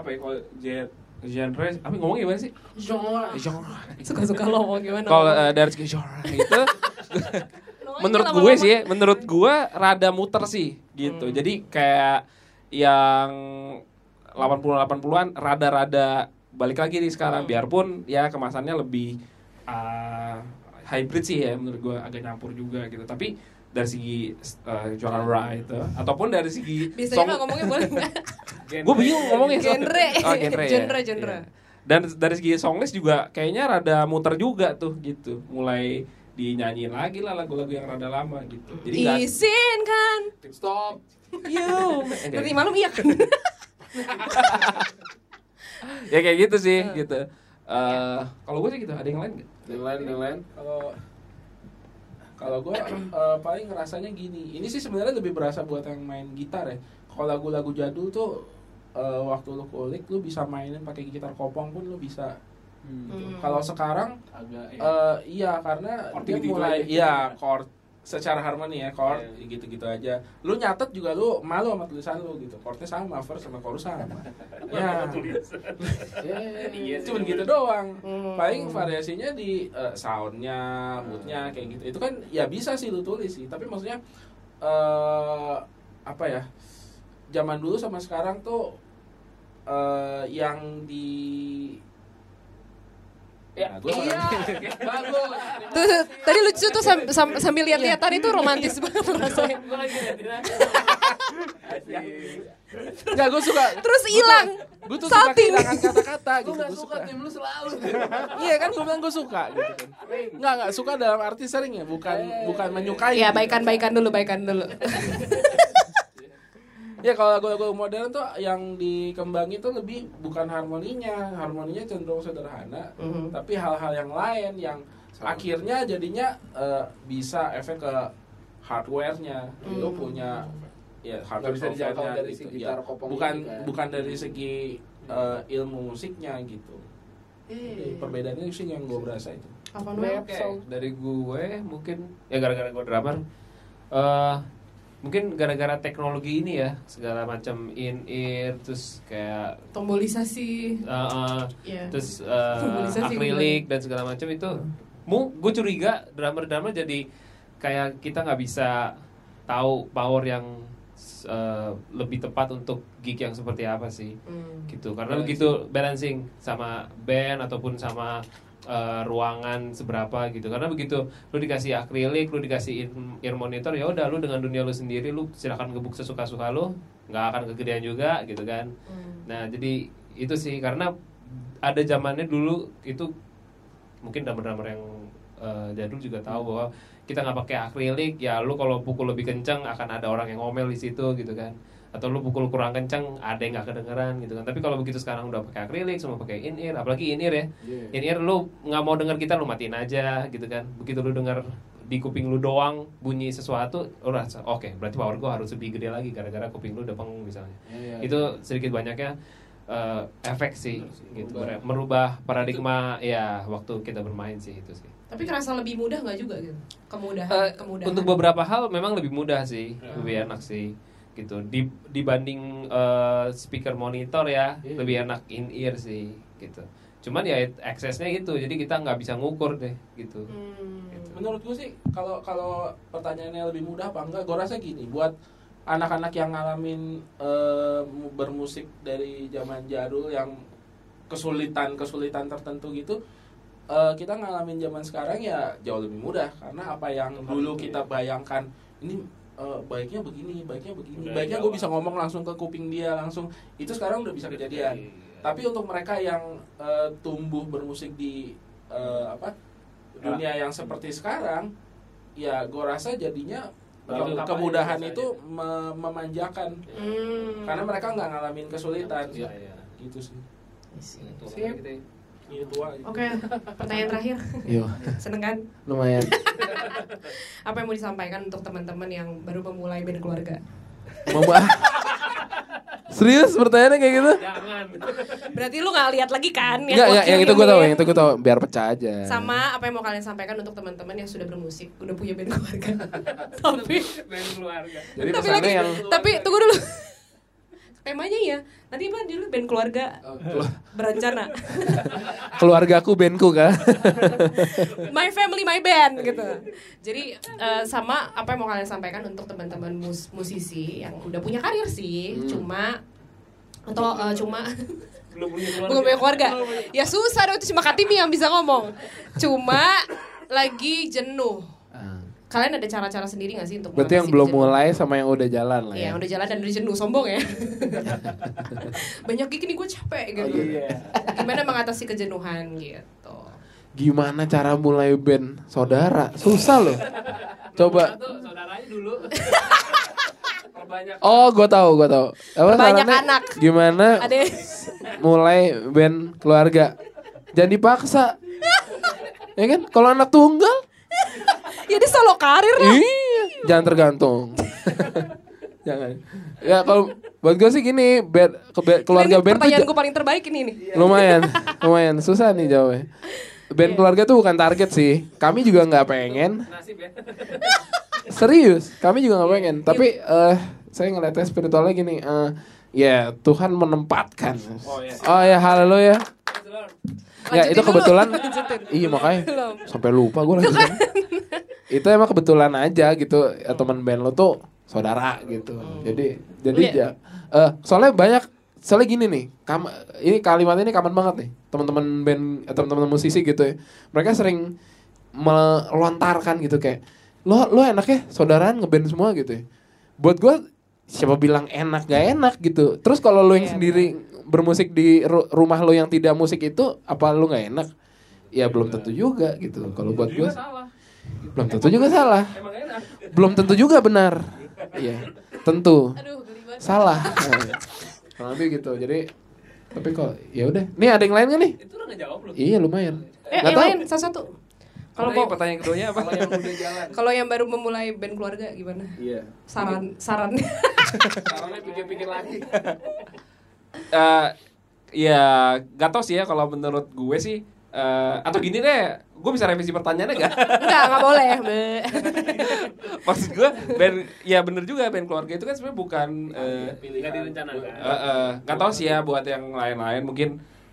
Speaker 4: apa ya kalau gen- genre apa ngomongnya gimana sih
Speaker 3: Ah.
Speaker 1: Genre. Suka-suka lo mau gimana?
Speaker 4: Eh, kalau eh, dari segi genre gitu, itu
Speaker 1: Lo aja
Speaker 4: menurut
Speaker 1: lama-lama.
Speaker 4: gue sih ya, menurut gue rada muter sih gitu jadi kayak yang 80 80-an rada-rada balik lagi nih sekarang biarpun ya kemasannya lebih ah, hybrid sih ya menurut gue agak nyampur juga gitu tapi dari segi eh, genre itu ataupun dari segi
Speaker 1: Biasanya
Speaker 4: song
Speaker 1: nggak ngomongnya boleh nggak?
Speaker 4: gue bingung ngomongnya
Speaker 1: Genre.
Speaker 4: Oh, genre, ya.
Speaker 1: Genre, genre.
Speaker 4: Iya. dan dari segi songlist juga kayaknya rada muter juga tuh gitu mulai dinyanyiin lagi lah lagu-lagu yang rada lama gitu jadi nggak
Speaker 1: Izinkan
Speaker 2: Stop.
Speaker 1: you. Nanti kan? malam iya kan?
Speaker 4: ya kayak gitu sih gitu Eh, kalau gue sih gitu ada yang lain nggak
Speaker 3: Yang lain, yang lain. Kalau kalau gue paling ngerasanya gini. Ini sih sebenarnya lebih berasa buat yang main gitar ya. Kalau lagu-lagu jadul tuh eh, waktu lu kulik lu bisa mainin pakai gitar kopong pun lu bisa.
Speaker 1: Hmm.
Speaker 3: gitu. Kalau sekarang
Speaker 5: Agak ya.
Speaker 3: eh, iya karena
Speaker 5: Chord
Speaker 3: dia
Speaker 5: gitu-gitu
Speaker 3: mulai
Speaker 5: aja.
Speaker 3: iya chord secara harmoni ya chord
Speaker 5: Iya.
Speaker 3: gitu-gitu aja. Lu nyatet juga lu malu sama tulisan lu gitu. Chordnya sama, verse sama chorus sama. ya.
Speaker 5: Iya
Speaker 3: Iya,
Speaker 5: sih,
Speaker 3: cuman
Speaker 5: bener.
Speaker 3: gitu doang.
Speaker 1: Hmm.
Speaker 3: Paling variasinya di eh, soundnya, moodnya kayak gitu. Itu kan ya bisa sih lu tulis sih, tapi maksudnya eh apa ya? Zaman dulu sama sekarang tuh eh yang di Ya, gue bagus.
Speaker 1: Tuh, tuh, tadi lucu tuh sam- sam- sambil lihat-lihatan itu romantis
Speaker 4: Iya.
Speaker 1: banget rasanya.
Speaker 2: Enggak, gue suka.
Speaker 1: Terus hilang.
Speaker 2: Gue tuh suka
Speaker 1: Salting.
Speaker 2: kehilangan kata-kata gitu.
Speaker 3: Gue
Speaker 2: Gue
Speaker 3: suka
Speaker 2: suka.
Speaker 3: tim lu selalu.
Speaker 2: Iya kan gue bilang gue suka gitu kan.
Speaker 3: Enggak, enggak suka dalam arti sering ya, bukan bukan menyukai.
Speaker 1: Iya,
Speaker 3: gitu.
Speaker 1: baikan-baikan dulu, baikan dulu.
Speaker 3: Ya kalau lagu-lagu modern tuh yang dikembangin tuh lebih bukan harmoninya, harmoninya cenderung sederhana,
Speaker 1: Mhm.
Speaker 3: tapi hal-hal yang lain yang akhirnya jadinya eh, bisa efek ke hardware-nya. Lu punya ya hardware
Speaker 5: Mhm. bisa dijangkau
Speaker 3: software-nya
Speaker 5: dari si
Speaker 3: gitu,
Speaker 5: gitar
Speaker 3: ya.
Speaker 5: kopong
Speaker 3: bukan
Speaker 5: ini kan. Iya.
Speaker 3: bukan dari segi eh, ilmu musiknya gitu. Jadi Perbedaannya sih yang gue berasa itu.
Speaker 1: Apa
Speaker 6: Oke, dari gue mungkin ya gara-gara gue drummer eh, mungkin gara-gara teknologi ini ya segala macam in ear terus kayak
Speaker 1: Tombolisasi.
Speaker 6: eh, eh,
Speaker 1: Iya.
Speaker 6: terus eh,
Speaker 1: Simbolisasi
Speaker 6: akrilik dan segala macam itu mu gue curiga drummer drummer jadi kayak kita nggak bisa tahu power yang eh, lebih tepat untuk gig yang seperti apa sih
Speaker 1: Hmm.
Speaker 6: gitu karena begitu balancing sama band ataupun sama eh, ruangan seberapa gitu karena begitu lu dikasih akrilik lu dikasih in- ear monitor ya udah lu dengan dunia lu sendiri lu silakan gebuk sesuka suka lu nggak akan kegedean juga gitu kan nah jadi itu sih karena ada zamannya dulu itu mungkin drummer-drummer yang eh, jadul juga tahu bahwa kita nggak pakai akrilik ya lu kalau pukul lebih kencang akan ada orang yang ngomel di situ gitu kan atau lu pukul kurang kencang ada yang nggak kedengeran gitu kan tapi kalau begitu sekarang udah pakai akrilik semua pakai in ear apalagi in ear ya in ear lu nggak mau denger kita lu matiin aja gitu kan begitu lu denger
Speaker 7: di kuping lu doang bunyi sesuatu lu rasa oke berarti power gua harus lebih gede lagi gara-gara kuping lu udah pengung misalnya
Speaker 4: Iya,
Speaker 7: itu sedikit banyaknya eh, efek ya. sih gitu
Speaker 4: merubah.
Speaker 7: merubah paradigma ya waktu kita bermain sih itu sih
Speaker 1: Tapi kerasa lebih mudah nggak juga gitu? Kemudahan,
Speaker 7: Eh, Ya.
Speaker 1: kemudahan.
Speaker 7: Untuk beberapa hal memang lebih mudah sih, lebih enak sih gitu. Di, dibanding eh, speaker monitor ya,
Speaker 4: Iya.
Speaker 7: lebih enak in ear sih gitu. Cuman ya aksesnya gitu, jadi kita nggak bisa ngukur deh gitu.
Speaker 1: Hmm.
Speaker 7: Gitu.
Speaker 4: menurut gue sih kalau kalau pertanyaannya lebih mudah apa enggak gue rasa gini buat anak-anak yang ngalamin eh, mu- bermusik dari zaman jadul yang kesulitan kesulitan tertentu gitu eh, kita ngalamin zaman sekarang ya jauh lebih mudah karena apa yang dulu kita bayangkan ini eh, baiknya begini baiknya begini
Speaker 6: Udah
Speaker 4: baiknya gue
Speaker 6: jauh.
Speaker 4: bisa ngomong langsung ke kuping dia langsung itu sekarang udah bisa kejadian
Speaker 6: Iya.
Speaker 7: Iya.
Speaker 4: tapi untuk mereka yang eh, tumbuh bermusik di eh, apa dunia
Speaker 6: Ya.
Speaker 4: yang seperti sekarang, ya gue rasa jadinya
Speaker 6: Baru
Speaker 4: ke-
Speaker 6: apa
Speaker 4: kemudahan
Speaker 6: aja,
Speaker 4: itu me- memanjakan
Speaker 1: Hmm.
Speaker 4: karena mereka nggak ngalamin kesulitan
Speaker 6: Iya.
Speaker 4: gitu sih.
Speaker 1: Sip.
Speaker 7: gitu ya.
Speaker 4: Ini tua.
Speaker 1: Oke, pertanyaan terakhir.
Speaker 2: Yo,
Speaker 1: Seneng kan?
Speaker 2: Iya. lumayan.
Speaker 1: Apa yang mau disampaikan untuk teman-teman yang baru memulai band keluarga?
Speaker 2: Mama. Serius pertanyaannya kayak gitu?
Speaker 7: Jangan.
Speaker 1: Berarti lu nggak lihat lagi kan?
Speaker 2: Enggak, enggak, yang itu gue
Speaker 1: wakil
Speaker 2: tahu,
Speaker 1: ini?
Speaker 2: yang itu gue tahu biar pecah aja.
Speaker 1: Sama apa yang mau kalian sampaikan untuk teman-teman yang sudah bermusik, udah punya band keluarga. tapi
Speaker 7: Main keluarga.
Speaker 2: Jadi
Speaker 1: tapi
Speaker 2: pesannya
Speaker 1: lagi,
Speaker 2: yang
Speaker 1: tapi tunggu dulu. Temanya ya, nanti apa dulu band keluarga
Speaker 2: Oh,
Speaker 1: berencana.
Speaker 2: keluargaku bandku kan.
Speaker 1: my family, my band gitu. Jadi eh, sama apa yang mau kalian sampaikan untuk teman-teman mus- musisi yang udah punya karir sih, cuma atau eh, cuma
Speaker 7: Belum punya
Speaker 1: Bukan punya keluarga. Ya susah dong itu cuma Katimi yang bisa ngomong. Cuma lagi jenuh.
Speaker 2: Ah.
Speaker 1: Kalian ada cara-cara sendiri gak sih untuk
Speaker 2: Berarti yang
Speaker 1: mengatasi
Speaker 2: belum
Speaker 1: kejenuhan?
Speaker 2: mulai sama yang udah jalan lah
Speaker 1: Iya,
Speaker 2: ya.
Speaker 1: udah jalan dan udah jenuh, sombong ya. Banyak gigi nih gue capek gitu. Gimana mengatasi kejenuhan gitu.
Speaker 2: Gimana cara mulai band saudara? Susah loh. Coba.
Speaker 7: saudaranya dulu. Perbanyak.
Speaker 2: Oh, gue tahu, gue tahu. Apa
Speaker 1: Banyak
Speaker 2: sarannya?
Speaker 1: anak.
Speaker 2: Gimana
Speaker 1: Ada
Speaker 2: mulai band keluarga? Jangan dipaksa. ya kan? Kalau anak tunggal,
Speaker 1: ya dia solo karir lah.
Speaker 2: Iya, jangan tergantung. jangan. Ya kalau buat gue sih gini, band, ke- band- keluarga
Speaker 1: Ini
Speaker 2: band tuh
Speaker 1: pertanyaan
Speaker 2: ja-
Speaker 1: gue paling terbaik ini nih.
Speaker 2: lumayan, lumayan susah nih jawabnya.
Speaker 1: Iya.
Speaker 2: Band keluarga tuh bukan target sih. Kami juga nggak pengen.
Speaker 7: Nasib ya.
Speaker 2: Serius, kami juga nggak pengen. Tapi eh saya ngeliatnya spiritualnya gini. eh ya Tuhan menempatkan. Oh ya
Speaker 6: iya.
Speaker 2: haleluya.
Speaker 1: Lanjutin
Speaker 2: Ya itu
Speaker 1: dulu.
Speaker 2: kebetulan.
Speaker 1: Lanjutin.
Speaker 2: Iya makanya
Speaker 1: Belum.
Speaker 2: sampai lupa gue lagi. itu emang kebetulan aja gitu ya, teman band lo tuh saudara gitu. Jadi jadi
Speaker 1: Iya.
Speaker 2: ja- eh, soalnya banyak soalnya gini nih, kam, ini kalimat ini kaman banget nih teman-teman band eh, teman-teman musisi gitu ya. Mereka sering melontarkan gitu kayak lo lo enak ya saudaraan ngeband semua gitu ya. Buat gue siapa bilang enak gak enak gitu. Terus kalau lo yang
Speaker 1: Iya,
Speaker 2: sendiri bermusik di ru- rumah lo yang tidak musik itu apa lo nggak enak? Ya belum tentu juga gitu. Kalau buat gue
Speaker 7: Iya, Salah.
Speaker 2: belum tentu juga salah.
Speaker 7: Emang enak.
Speaker 2: Belum tentu juga benar. Iya, tentu
Speaker 1: Aduh, geli banget.
Speaker 2: salah. Nah, Kurang lebih gitu. Jadi tapi kok ya udah. Nih ada yang lain gak nih?
Speaker 7: Itu lo nggak jawab lo.
Speaker 2: Iya lumayan.
Speaker 1: Eh, yang
Speaker 2: Nggak tahu.
Speaker 1: lain satu-satu. Kalau mau
Speaker 6: pertanyaan keduanya apa?
Speaker 4: Kalau yang udah jalan,
Speaker 1: kalau yang baru memulai band keluarga gimana?
Speaker 4: iya.
Speaker 1: Saran sarannya.
Speaker 4: Karena pikir-pikir lagi.
Speaker 6: Eh, ya gak tau sih ya kalau menurut gue sih eh, atau gini deh, gue bisa revisi pertanyaannya gak?
Speaker 1: Enggak, enggak boleh. Be.
Speaker 6: Maksud gue, band, ya bener juga band keluarga itu kan sebenarnya bukan eh,
Speaker 7: Nggak kan? direncanakan.
Speaker 6: Eh, eh, nggak tahu sih ya buat yang lain-lain mungkin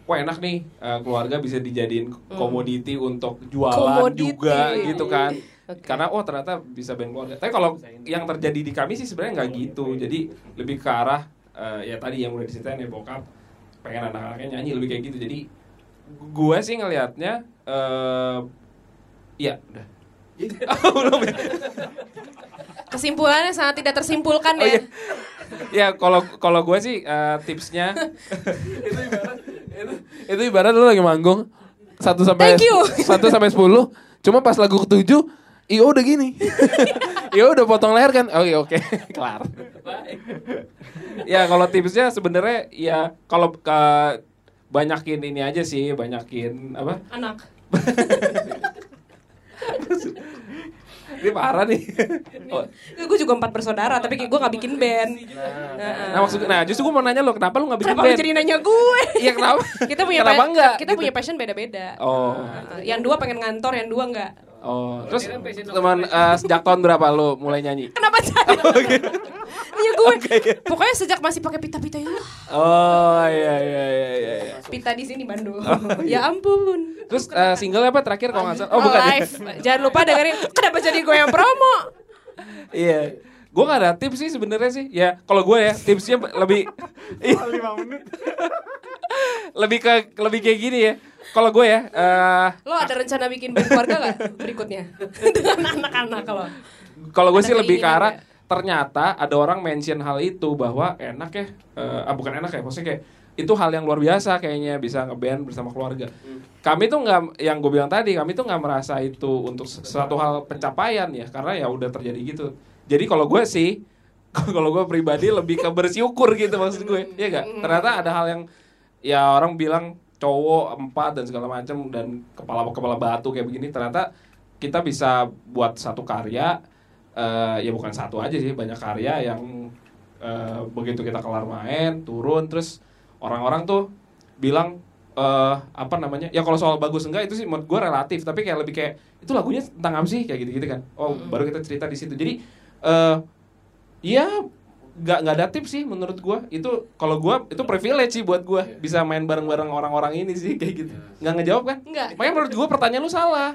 Speaker 6: wah enak nih eh, keluarga bisa dijadiin
Speaker 7: Hmm.
Speaker 6: komoditi untuk jualan
Speaker 1: Komoditi.
Speaker 6: juga gitu kan
Speaker 1: Oke.
Speaker 6: karena oh ternyata bisa band keluarga tapi kalau yang terjadi di kami sih sebenarnya nggak gitu jadi lebih ke arah eh, ya tadi yang udah diceritain ya bokap pengen anak-anaknya nyanyi lebih kayak gitu jadi gue sih ngelihatnya eh ya udah Belum ya?
Speaker 1: Kesimpulannya sangat tidak tersimpulkan ya.
Speaker 6: Oh, iya. ya kalau kalau gue sih eh, tipsnya
Speaker 2: Itu ibarat lu lagi manggung 1 sampai
Speaker 1: Thank you.
Speaker 2: 1 sampai 10, cuma pas lagu ketujuh Iyo udah gini. Iyo udah potong leher kan. Oke oke, kelar.
Speaker 6: ya kalau tipsnya sebenarnya ya kalau ke banyakin ini aja sih banyakin apa
Speaker 1: Anak.
Speaker 2: Ini parah nih.
Speaker 1: Eh.
Speaker 2: Oh,
Speaker 1: gue Ya, juga empat bersaudara tapi gue nggak bikin band
Speaker 2: Nah, maksud, nah justru gue mau nanya lo, kenapa lo gak bikin
Speaker 1: kenapa lu
Speaker 2: band?
Speaker 1: jadi nanya gue
Speaker 2: Iya kenapa?
Speaker 1: kita punya
Speaker 2: kenapa
Speaker 1: pa-
Speaker 2: enggak? Gitu.
Speaker 1: kita punya passion beda-beda
Speaker 2: Oh,
Speaker 1: Heeh. yang dua pengen ngantor yang dua enggak
Speaker 2: oh. Terus teman eh, sejak tahun berapa lo mulai nyanyi?
Speaker 1: kenapa saya
Speaker 2: Oh,
Speaker 1: Nanya gue
Speaker 2: iya.
Speaker 1: pokoknya sejak masih pakai pita-pita ya Allah,
Speaker 2: Oh iya iya iya iya. iya.
Speaker 1: pita di sini Bandung ya ampun
Speaker 2: Terus eh, single apa terakhir kalau nggak salah? iya. Oh bukan. ya?
Speaker 1: live jangan lupa dengerin kenapa jadi gue yang promo
Speaker 2: Iya. Gue gak ada tips sih sebenarnya sih. Ya kalau gue ya tipsnya lebih iya,
Speaker 5: lima menit
Speaker 2: lebih ke lebih kayak gini ya. Kalau gue ya, eh,
Speaker 1: Lo ada rencana bikin band keluarga gak berikutnya? Dengan anak-anak lo
Speaker 2: kalau gue
Speaker 1: Ada
Speaker 2: sih lebih ke
Speaker 1: keinginan
Speaker 2: arah
Speaker 1: nggak?
Speaker 2: ternyata ada orang mention hal itu bahwa enak ya, eh, ah, bukan enak ya, maksudnya kayak itu hal yang luar biasa kayaknya bisa ngeband bersama keluarga. Kami tuh nggak, yang gue bilang tadi, kami tuh nggak merasa itu untuk se- suatu hal pencapaian ya, karena ya udah terjadi gitu. Jadi kalau gue sih, kalau gue pribadi lebih ke bersyukur gitu maksud gue, ya gak? Ternyata ada hal yang ya orang bilang cowok empat dan segala macam dan kepala kepala batu kayak begini ternyata kita bisa buat satu karya eh, ya bukan satu aja sih banyak karya yang eh, begitu kita kelar main turun terus orang-orang tuh bilang eh apa namanya ya kalau soal bagus enggak itu sih menurut gue relatif tapi kayak lebih kayak itu lagunya tentang apa sih kayak gitu gitu kan oh baru kita cerita di situ jadi eh Iya, nggak nggak ada tips sih menurut gua. Itu kalau gua itu privilege sih buat gua bisa main bareng-bareng orang-orang ini sih kayak gitu. Nggak ngejawab kan?
Speaker 1: Nggak.
Speaker 2: Makanya menurut gua pertanyaan lu salah.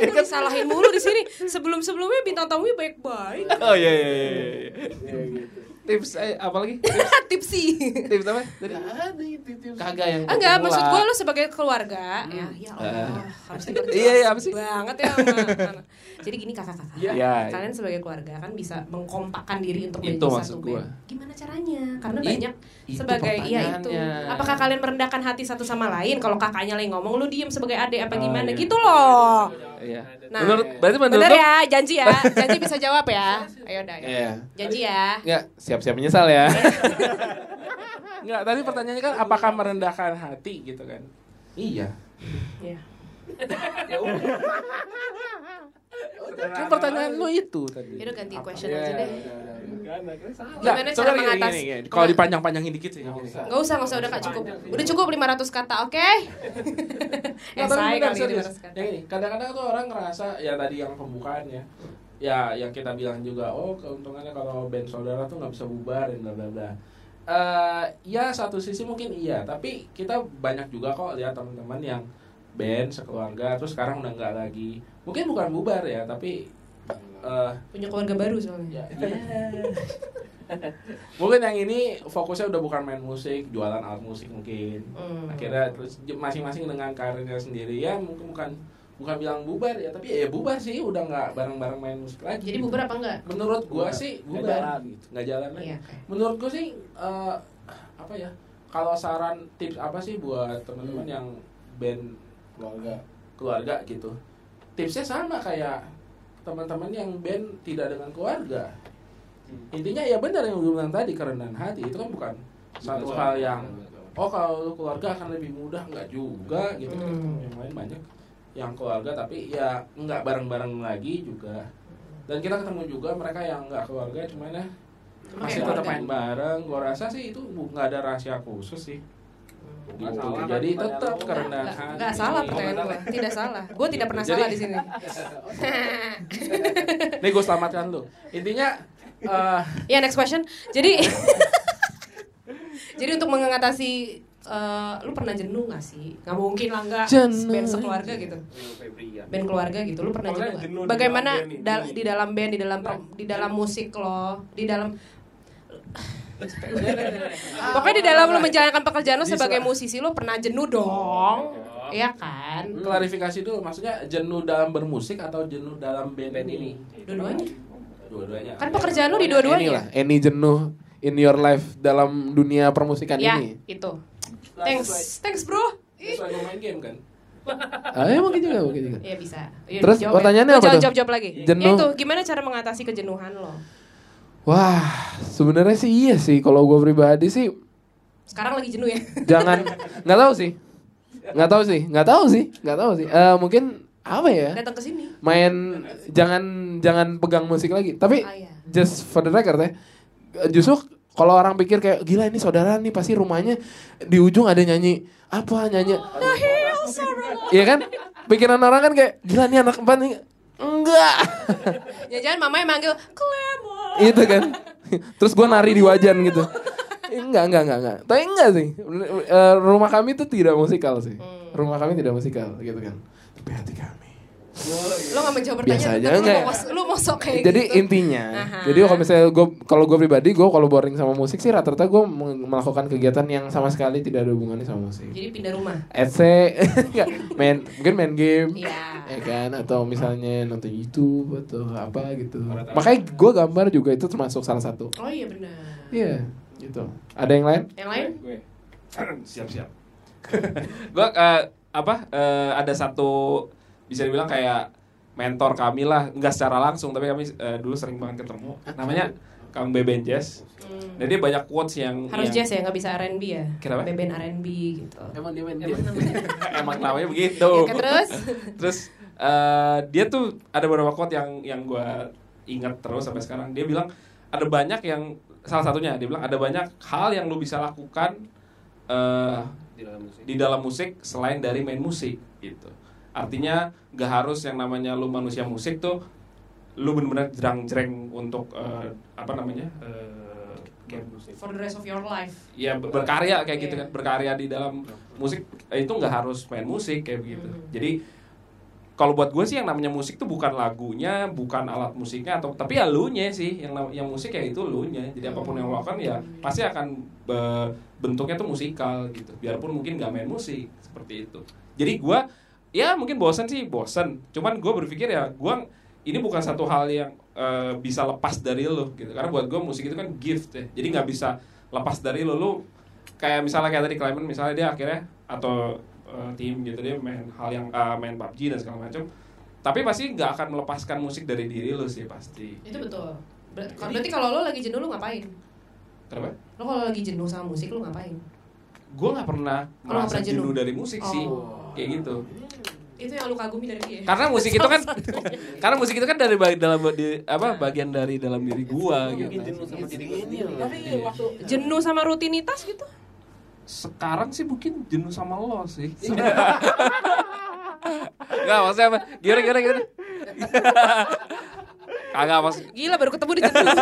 Speaker 1: Lo disalahin mulu di sini Sebelum-sebelumnya bintang tamunya baik-baik
Speaker 2: oh iya iya iya. iya. tips eh, apa lagi? Tips,
Speaker 1: Tips sih
Speaker 2: tips apa? Tadi kagak yang
Speaker 1: Enggak,
Speaker 2: pemula.
Speaker 1: maksud gue lo sebagai keluarga Ya, ya Allah Harus diperjelas
Speaker 2: Hmm. Eh. Iya, iya, apa sih?
Speaker 1: Banget ya sama, sama. Jadi gini kakak-kakak
Speaker 2: Iya, iya.
Speaker 1: Kalian sebagai keluarga kan bisa mengkompakkan diri untuk
Speaker 2: Itu
Speaker 1: menjadi
Speaker 2: maksud
Speaker 1: satu
Speaker 2: gua.
Speaker 1: band Gimana caranya? Karena
Speaker 2: I-
Speaker 1: banyak
Speaker 2: itu
Speaker 1: sebagai Iya itu
Speaker 2: pertanyaannya.
Speaker 1: Apakah kalian merendahkan hati satu sama lain? Kalau kakaknya lagi ngomong lu diem sebagai adik apa
Speaker 2: Oh,
Speaker 1: gimana?
Speaker 2: iya.
Speaker 1: Gitu loh
Speaker 2: Iya.
Speaker 1: Nah.
Speaker 2: menurut berarti menurut
Speaker 1: Bener
Speaker 2: lu-
Speaker 1: ya, janji ya. Janji bisa jawab ya. Ayo dah. ayo.
Speaker 8: Iya.
Speaker 1: Janji ya.
Speaker 8: Nggak, siap-siap menyesal ya.
Speaker 2: Nggak, tadi pertanyaannya kan apakah merendahkan hati gitu kan? Iya.
Speaker 1: Iya.
Speaker 2: Kan pertanyaan lu itu tadi.
Speaker 1: Yaudah ganti question
Speaker 8: Iya,
Speaker 1: aja deh.
Speaker 8: iya, iya.
Speaker 1: Gimana
Speaker 2: Nggak,
Speaker 1: cara
Speaker 2: sebenarnya gini,
Speaker 1: mengatasi?
Speaker 2: gini, gini. Kalau dipanjang-panjangin dikit sih nggak usah.
Speaker 1: Gak usah, gak usah udah Kak, cukup. Udah cukup 500 kata, oke?
Speaker 4: Nah,
Speaker 1: eh,
Speaker 4: tapi
Speaker 1: saya kali
Speaker 4: benar, kan, serius.
Speaker 1: 500 kata.
Speaker 4: Yang ini, kadang-kadang tuh orang ngerasa ya tadi yang pembukaannya ya yang kita bilang juga oh keuntungannya kalau band saudara tuh nggak bisa bubar dan bla bla bla. Eh, ya satu sisi mungkin iya, tapi kita banyak juga kok lihat teman-teman yang band sekeluarga terus sekarang udah nggak lagi. Mungkin bukan bubar ya, tapi eh,
Speaker 1: Punya keluarga baru soalnya.
Speaker 4: Ya. mungkin yang ini fokusnya udah bukan main musik, jualan alat musik mungkin.
Speaker 1: Hmm.
Speaker 4: Akhirnya terus j- masing-masing dengan karirnya sendiri ya mungkin bukan bukan bilang bubar ya, tapi ya bubar sih udah nggak bareng-bareng main musik lagi.
Speaker 1: Jadi bubar apa enggak?
Speaker 4: Menurut gua sih
Speaker 5: Nggak
Speaker 4: bubar
Speaker 5: jalan gitu.
Speaker 4: nggak jalan lagi.
Speaker 1: Iya. oke.
Speaker 4: Menurut gua sih eh, apa ya? Kalau saran tips apa sih buat teman-teman yang band
Speaker 5: keluarga
Speaker 4: keluarga gitu tipsnya sama kayak teman-teman yang band tidak dengan keluarga intinya ya benar yang gue bilang tadi kerendahan hati itu kan bukan satu hal yang oh kalau lu keluarga akan lebih mudah nggak juga gitu kan
Speaker 1: Hmm.
Speaker 4: yang lain banyak yang keluarga tapi ya nggak bareng-bareng lagi juga dan kita ketemu juga mereka yang nggak keluarga cuman ya
Speaker 1: Cuma
Speaker 4: masih
Speaker 1: kayak
Speaker 4: tetap
Speaker 1: keluarga.
Speaker 4: main bareng gue rasa sih itu bu- nggak ada rahasia khusus sih
Speaker 5: Nggak
Speaker 4: Gitu.
Speaker 5: salah kan
Speaker 4: jadi
Speaker 5: pertanyaan
Speaker 4: tetap
Speaker 5: lu?
Speaker 4: kerendahan
Speaker 1: Nggak-
Speaker 4: hati
Speaker 1: nggak Hmm. salah pertanyaan gue. Tidak salah. Gue tidak pernah
Speaker 2: Jadi-
Speaker 1: salah di sini.
Speaker 4: Nih gue selamatkan lu. Intinya eh
Speaker 1: Ya next question. Jadi Jadi untuk mengatasi eh, lu pernah jenuh gak sih? Gak mungkin lah enggak
Speaker 8: Jenuh. iya.
Speaker 1: band sekeluarga gitu. Band keluarga gitu. Lu pernah
Speaker 2: iya. Pokoknya
Speaker 1: jenuh, nggak?
Speaker 2: jenuh di
Speaker 1: Bagaimana
Speaker 2: dalam band ini.
Speaker 1: dal- di dalam band, di dalam di dalam musik lo, di dalam Pokoknya
Speaker 8: Ah,
Speaker 1: di dalam lu
Speaker 8: iya.
Speaker 1: menjalankan pekerjaan lo sebagai musisi lo pernah jenuh dong. Iya kan?
Speaker 4: Hmm.
Speaker 2: Hmm.
Speaker 4: klarifikasi dulu maksudnya jenuh dalam bermusik atau jenuh dalam band, ini?
Speaker 2: Iya.
Speaker 1: Dua-duanya.
Speaker 4: Dua-duanya.
Speaker 1: Kan pekerjaan lo di
Speaker 8: Ini lah,
Speaker 1: dua-duanya.
Speaker 8: any jenuh in your life dalam dunia permusikan
Speaker 1: Ya,
Speaker 8: ini.
Speaker 1: itu.
Speaker 4: Lah, sesuai-
Speaker 1: Thanks, thanks bro. Ih.
Speaker 4: Sesuai gue main game kan.
Speaker 8: Ah, ya mungkin juga, mungkin
Speaker 2: Gitu.
Speaker 8: juga.
Speaker 1: Iya bisa. Iya,
Speaker 8: Terus
Speaker 1: dijawab
Speaker 8: pertanyaannya
Speaker 1: ya. Lo
Speaker 8: apa
Speaker 1: jangan
Speaker 8: tuh?
Speaker 1: Jawab-jawab lagi.
Speaker 8: Jenuh.
Speaker 1: Ya itu gimana cara mengatasi kejenuhan lo?
Speaker 8: Wah, sebenarnya sih iya sih kalau gue pribadi sih
Speaker 1: Sekarang lagi jenuh ya.
Speaker 8: jangan nggak tahu sih. Nggak tahu sih, nggak tahu sih, nggak tahu sih. Eh mungkin
Speaker 2: apa ya?
Speaker 1: datang ke sini.
Speaker 2: Main jangan jangan pegang musik lagi. Tapi
Speaker 1: Ah, iya.
Speaker 2: just for the record ya. Justru kalau orang pikir kayak gila ini saudara nih pasti rumahnya di ujung ada nyanyi apa nyanyi
Speaker 1: The hills are alive.
Speaker 2: Iya kan? Pikiran orang kan kayak gila nih anak empat nih. Enggak.
Speaker 1: Ya jangan mamanya manggil Clemon.
Speaker 2: itu kan. Terus gua nari di wajan gitu. Enggak, enggak, enggak, enggak. Tapi enggak sih. Eh, rumah kami tuh tidak musikal sih.
Speaker 1: Hmm.
Speaker 2: Rumah kami tidak musikal gitu kan. Tapi hati kami.
Speaker 1: Lo gak menjawab pertanyaan.
Speaker 2: Biasa aja,
Speaker 1: tapi
Speaker 2: enggak
Speaker 1: Lo
Speaker 2: ya?
Speaker 1: mau, lo mau sok kayak
Speaker 2: jadi
Speaker 1: gitu.
Speaker 2: intinya,
Speaker 1: Aha.
Speaker 2: jadi kalau misalnya gue kalau gue pribadi gue kalau boring sama musik sih rata-rata gue melakukan kegiatan yang sama sekali tidak ada hubungannya sama musik.
Speaker 1: Jadi pindah rumah.
Speaker 2: Etse, enggak, main mungkin main game,
Speaker 1: Iya.
Speaker 2: ya kan atau misalnya nonton YouTube atau apa gitu. Makanya gue gambar juga itu termasuk salah satu.
Speaker 1: Oh iya benar.
Speaker 2: Iya, gitu. Ada yang lain?
Speaker 1: Yang lain?
Speaker 4: Gue.
Speaker 6: siap-siap gua eh, apa eh, ada satu bisa dibilang kayak mentor kami lah nggak secara langsung tapi kami eh, dulu sering banget ketemu namanya Kang Beben Jazz
Speaker 1: Hmm.
Speaker 6: dan dia banyak quotes yang
Speaker 1: Harus
Speaker 4: Iya.
Speaker 6: yang-
Speaker 1: jazz ya, nggak bisa R&B ya.
Speaker 6: Kenapa?
Speaker 1: Beben R&B gitu.
Speaker 4: Oh.
Speaker 2: Emang dia main
Speaker 1: Emang namanya.
Speaker 6: emang namanya begitu
Speaker 1: Ya, kan, terus?
Speaker 6: Terus eh, dia tuh ada beberapa quote yang yang gue ingat terus sampai sekarang. Dia bilang ada banyak yang salah satunya dia bilang ada banyak hal yang lu bisa lakukan eh,
Speaker 9: di dalam musik
Speaker 6: di dalam musik selain dari main musik gitu. Artinya gak harus yang namanya lu manusia musik tuh lu bener-bener jerang-jereng untuk eh, apa namanya eh, kayak-
Speaker 1: For the rest of your life.
Speaker 6: ya ber- berkarya kayak gitu
Speaker 1: Iya.
Speaker 6: kan berkarya di dalam musik eh, itu nggak harus main musik kayak begitu
Speaker 1: Hmm.
Speaker 6: jadi kalau buat gue sih yang namanya musik tuh bukan lagunya bukan alat musiknya atau tapi ya lu nya sih yang nam- yang musik ya itu lu nya jadi apapun yang lo lakukan ya pasti akan be- bentuknya tuh musikal gitu biarpun mungkin nggak main musik seperti itu jadi gue ya mungkin bosan sih bosan cuman gue berpikir ya gue ini bukan satu hal yang eh, bisa lepas dari lo gitu karena buat gue musik itu kan gift ya jadi nggak bisa lepas dari lo lo kayak misalnya kayak tadi Clement misalnya dia akhirnya atau eh, tim gitu dia main hal yang eh, main PUBG dan segala macam tapi pasti nggak akan melepaskan musik dari diri lo sih pasti
Speaker 1: Itu betul. Ber- Berarti kalau lo lagi jenuh lo ngapain?
Speaker 6: kenapa
Speaker 1: Lo kalau lagi jenuh sama musik lo ngapain?
Speaker 6: gue nggak pernah
Speaker 1: nggak pernah
Speaker 6: merasa
Speaker 1: jenuh.
Speaker 6: jenuh dari musik sih
Speaker 1: Oh.
Speaker 6: kayak gitu
Speaker 1: Itu yang lo kagumi dari dia.
Speaker 6: karena musik itu kan
Speaker 1: Salah satunya.
Speaker 6: karena musik itu kan dari bag- dalam di- apa bagian dari dalam diri gua
Speaker 9: mungkin
Speaker 6: gitu
Speaker 9: jenuh sama diri gue sendiri
Speaker 4: Tapi waktu
Speaker 1: jenuh sama rutinitas gitu.
Speaker 6: sekarang sih mungkin jenuh sama lo sih Iya. nggak maksudnya apa gimana gimana gimana kagak mas
Speaker 1: Gila baru ketemu di jenuh.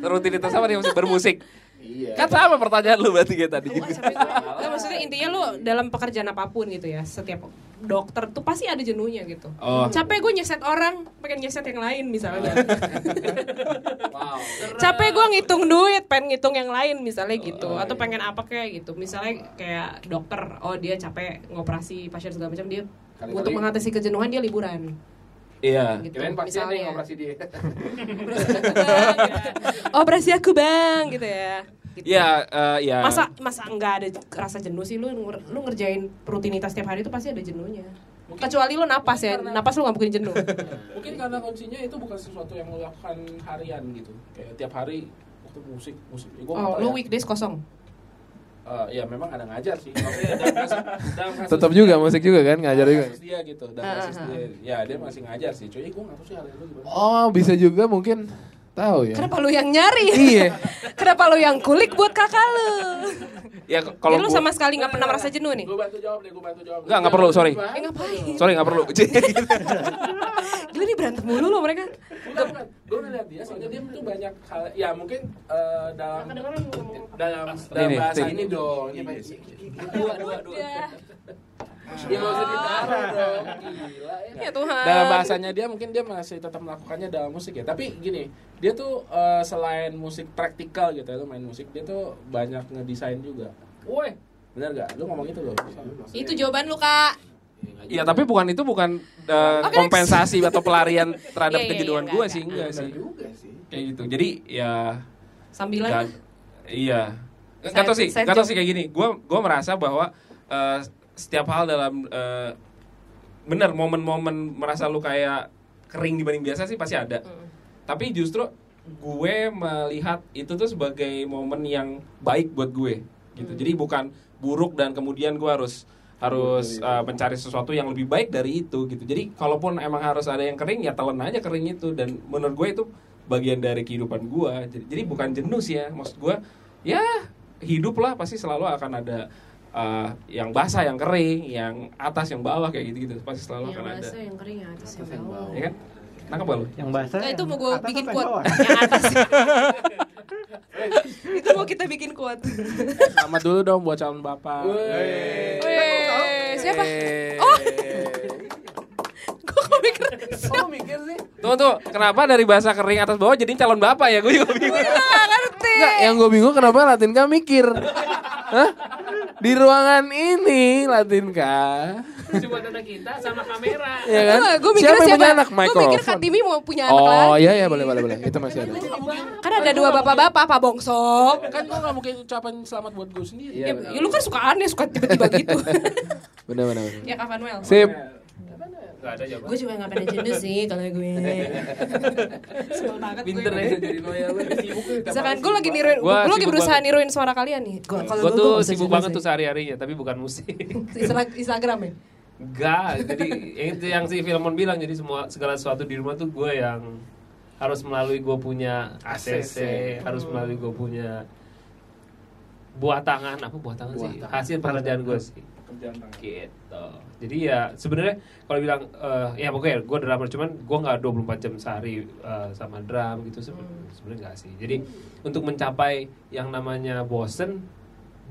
Speaker 6: rutinitas apa nih maksud bermusik
Speaker 9: iya
Speaker 6: kan sama pertanyaan lu berarti kayak tadi
Speaker 1: Wah,
Speaker 6: juga
Speaker 1: sampai gua- Nggak, maksudnya intinya lu dalam pekerjaan apapun gitu ya setiap dokter tuh pasti ada jenuhnya gitu
Speaker 6: Oh.
Speaker 1: capek gue nyeset orang pengen nyeset yang lain misalnya
Speaker 4: wow.
Speaker 1: capek gue ngitung duit pengen ngitung yang lain misalnya gitu atau pengen apa kayak gitu misalnya kayak dokter oh dia capek ngoperasi pasien segala macam dia
Speaker 4: Kali-kali-
Speaker 1: untuk mengatasi kejenuhan dia liburan
Speaker 6: iya
Speaker 1: gitu
Speaker 4: Kirain pasti ada yang
Speaker 1: misalnya
Speaker 4: operasi dia.
Speaker 1: operasi Oh, aku bang gitu ya Gitu.
Speaker 6: iya eh, iya
Speaker 1: masa masa nggak ada rasa jenuh sih lu nger- lu ngerjain rutinitas tiap hari itu pasti ada jenuhnya kecuali lu napas ya
Speaker 4: karena-
Speaker 1: napas lu nggak mungkin jenuh
Speaker 4: Mungkin karena kuncinya itu bukan sesuatu yang lo lakukan harian gitu. Kayak tiap hari waktu musik, musik. Ya, gua nggak
Speaker 1: oh
Speaker 4: tahu
Speaker 1: lu
Speaker 4: ya.
Speaker 1: weekdays kosong
Speaker 4: Eh, ya memang ada ngajar sih. Maksudnya dalam kasus- dalam kasus
Speaker 2: Tetap
Speaker 4: dia-
Speaker 2: juga musik juga kan ngajar
Speaker 4: dalam
Speaker 2: juga.
Speaker 4: kasus dia gitu. Dalam
Speaker 1: Ah,
Speaker 4: kasus
Speaker 1: ah,
Speaker 4: dia, ya dia masih ngajar sih. Cuy, gue nggak tahu sih hari lu gimana.
Speaker 2: Oh, bisa juga mungkin tahu ya.
Speaker 1: kenapa lu yang nyari
Speaker 2: Iya.
Speaker 1: kenapa lu yang kulik buat kakak lu
Speaker 6: ya k-
Speaker 1: kalau
Speaker 6: kalau
Speaker 1: lu
Speaker 6: gua-
Speaker 1: sama sekali nggak pernah merasa jenuh nih
Speaker 4: Gue bantu jawab deh, gue bantu jawab.
Speaker 6: Nggak, nggak perlu, sorry.
Speaker 1: eh ngapain
Speaker 6: sorry nggak perlu
Speaker 1: Iya. gila nih berantem mulu lo mereka
Speaker 4: Bukan, bukan. Gue ngeliat dia, soalnya dia tuh banyak hal. Ya mungkin eh, dalam dalam dalam
Speaker 6: Ini,
Speaker 4: bahasa
Speaker 6: ini.
Speaker 4: ini dong. Ini bahasa- Iya, Dua, dua, dua. Ya nggak usah ditaruh dong. Gila ya.
Speaker 1: ya Tuhan
Speaker 4: dalam bahasanya dia mungkin dia masih tetap melakukannya dalam musik ya tapi gini dia tuh eh, selain musik praktikal gitu ya lu main musik dia tuh banyak ngedesain juga woi bener gak lu ngomong itu loh Iya.
Speaker 1: itu jawaban lu kak
Speaker 6: ya tapi bukan itu bukan eh,
Speaker 1: Oke, next.
Speaker 6: kompensasi atau pelarian terhadap
Speaker 1: Iya, iya,
Speaker 6: kejenuhan
Speaker 1: iya,
Speaker 6: gua
Speaker 1: nggak,
Speaker 6: sih
Speaker 1: nggak.
Speaker 6: enggak sih
Speaker 9: juga sih
Speaker 6: kayak gitu jadi ya
Speaker 1: sambilan
Speaker 6: Gak- iya. Enggak
Speaker 1: Side-
Speaker 6: tau sih,
Speaker 1: side
Speaker 6: enggak tau
Speaker 1: job.
Speaker 6: sih kayak gini. Gua gua merasa bahwa eh, setiap hal dalam eh, bener momen-momen merasa lu kayak kering dibanding biasa sih pasti ada.
Speaker 1: Mm.
Speaker 6: Tapi justru gue melihat itu tuh sebagai momen yang baik buat gue gitu. Jadi bukan buruk dan kemudian gue harus
Speaker 4: harus eh, mencari sesuatu yang lebih baik dari itu gitu. Jadi kalaupun emang harus ada yang kering ya telan aja kering itu dan menurut gue itu bagian dari kehidupan gue. Jadi, jadi bukan jenuh sih ya maksud gue ya hidup lah pasti selalu akan ada eh, yang basah yang kering, yang atas yang bawah kayak gitu gitu pasti selalu
Speaker 1: yang
Speaker 4: akan ada.
Speaker 1: Iya, basah, yang kering, yang atas, yang bawah.
Speaker 4: Ya kan? Nangkep gak lu?
Speaker 10: Yang bahasa ya.
Speaker 1: Nah, itu
Speaker 10: yang
Speaker 1: mau gue
Speaker 10: atas
Speaker 1: bikin
Speaker 10: apa yang
Speaker 1: quote
Speaker 10: bawah?
Speaker 1: yang atas. itu mau kita bikin quote.
Speaker 2: Selamat dulu dong buat calon bapak.
Speaker 1: Weh, siapa? Oh. Gue kok mikir
Speaker 3: Kok lu mikir sih?
Speaker 4: Tuh tuh, kenapa dari bahasa kering atas bawah jadi calon bapak ya? Gue juga bingung.
Speaker 1: nggak ngerti.
Speaker 2: Enggak, yang gue bingung kenapa Latinka mikir. Hah? Di ruangan ini Latinka.
Speaker 6: Cuma anak kita sama kamera.
Speaker 2: Ya kan?
Speaker 1: Nggak, Gue mikir
Speaker 2: siapa yang punya anak
Speaker 1: Gue mikir Kak
Speaker 2: mikrofon?
Speaker 1: Timi mau punya anak lagi.
Speaker 2: Oh iya iya boleh boleh boleh. Itu masih ada.
Speaker 1: Kan ada dua bapak-bapak, Pak Bongso.
Speaker 3: Kan gua gak mungkin ucapan selamat buat gue sendiri.
Speaker 2: Iya,
Speaker 1: Ya, ya, lu kan suka aneh, suka tiba-tiba gitu.
Speaker 2: Benar benar. benar.
Speaker 1: ya Kak Manuel.
Speaker 2: Sip.
Speaker 6: Gak ada jawaban.
Speaker 1: Gue juga gak pernah jenuh sih kalau gue. Sebel banget
Speaker 3: Pinter ya jadi loyal lu sibuk lu tiap
Speaker 1: Misalkan
Speaker 3: hari
Speaker 1: gue lagi
Speaker 3: sibuk banget.
Speaker 1: niruin,
Speaker 6: Gua
Speaker 1: gue lagi
Speaker 6: sibuk
Speaker 1: berusaha
Speaker 6: banget.
Speaker 1: niruin suara kalian nih. Gue
Speaker 6: Gue tuh sibuk banget tuh sehari-harinya, tapi bukan musik.
Speaker 1: Instagram ya.
Speaker 6: Enggak, jadi yang itu yang si Filmon bilang jadi semua segala sesuatu di rumah tuh gue yang harus melalui gue punya ACC, harus melalui gue punya buah tangan apa buah tangan sih hasil pekerjaan gue sih
Speaker 3: Kerjaan tangan.
Speaker 6: gitu jadi ya sebenarnya kalau bilang eh, ya pokoknya gue drummer cuman gue nggak 24 jam sehari eh, sama drum gitu seben-
Speaker 1: Hmm.
Speaker 6: sebenarnya nggak sih jadi untuk mencapai yang namanya bosen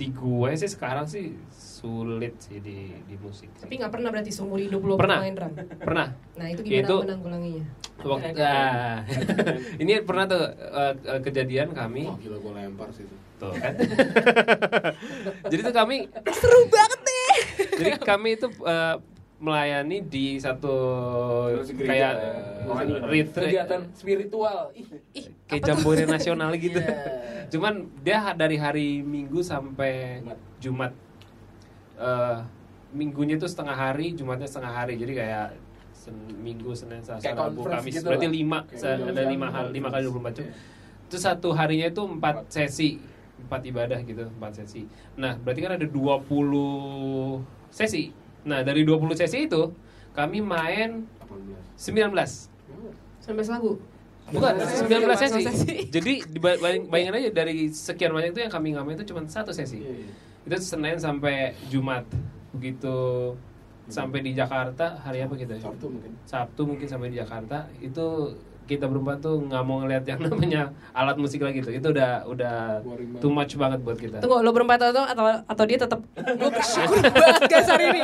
Speaker 6: di gue sih sekarang sih sulit sih di di musik sih.
Speaker 1: Tapi gak pernah berarti seumur hidup lo
Speaker 6: Pernah.
Speaker 1: main drum.
Speaker 6: pernah
Speaker 1: Nah itu gimana
Speaker 6: Itu-
Speaker 1: menanggulanginya?
Speaker 6: Waktu, ah. ini pernah tuh eh, eh, kejadian kami
Speaker 5: Wah gila gue lempar sih itu.
Speaker 6: tuh kan jadi tuh kami
Speaker 1: Seru banget deh.
Speaker 6: jadi kami itu eh, melayani di satu
Speaker 3: Terus gereja,
Speaker 6: kayak
Speaker 3: eh,
Speaker 6: retreat
Speaker 3: kegiatan spiritual. Ih,
Speaker 1: Ih,
Speaker 6: kayak
Speaker 1: apa tuh?
Speaker 6: jambore nasional gitu
Speaker 3: Iya.
Speaker 6: cuman dia ha- dari hari minggu sampai
Speaker 3: Jumat.
Speaker 6: jumat Eh, minggunya tuh setengah hari jumatnya setengah hari jadi kayak Sen- minggu senin selasa
Speaker 3: Kayak
Speaker 6: rabu
Speaker 3: conference
Speaker 6: kamis
Speaker 3: gitu
Speaker 6: berarti
Speaker 3: lah.
Speaker 6: lima
Speaker 3: Kayak
Speaker 6: se- ada
Speaker 3: jam-jam
Speaker 6: lima hal lima kali dua puluh
Speaker 3: conference. Iya.
Speaker 6: Terus satu harinya itu empat
Speaker 3: Empat.
Speaker 6: sesi, empat ibadah gitu, empat sesi. Nah, berarti kan ada 20 sesi. Nah, dari 20 sesi itu kami main 19.
Speaker 1: Sampai selagu.
Speaker 6: Bukan, 19 sesi.
Speaker 1: Satu sesi.
Speaker 6: Jadi diba- bayang- bayangin aja dari sekian banyak itu yang kami ngamen itu cuma satu sesi.
Speaker 3: Iya, iya.
Speaker 6: Itu Senin sampai Jumat. Begitu sampai di Jakarta hari apa kita?
Speaker 5: Sabtu mungkin.
Speaker 6: Sabtu mungkin sampai di Jakarta itu kita berempat tuh nggak mau ngelihat yang namanya alat musik lagi tuh itu udah udah
Speaker 5: Boring banget.
Speaker 6: too much banget buat kita
Speaker 1: Tunggu, lo berempat atau atau atau dia tetap gue bersyukur banget guys hari ini.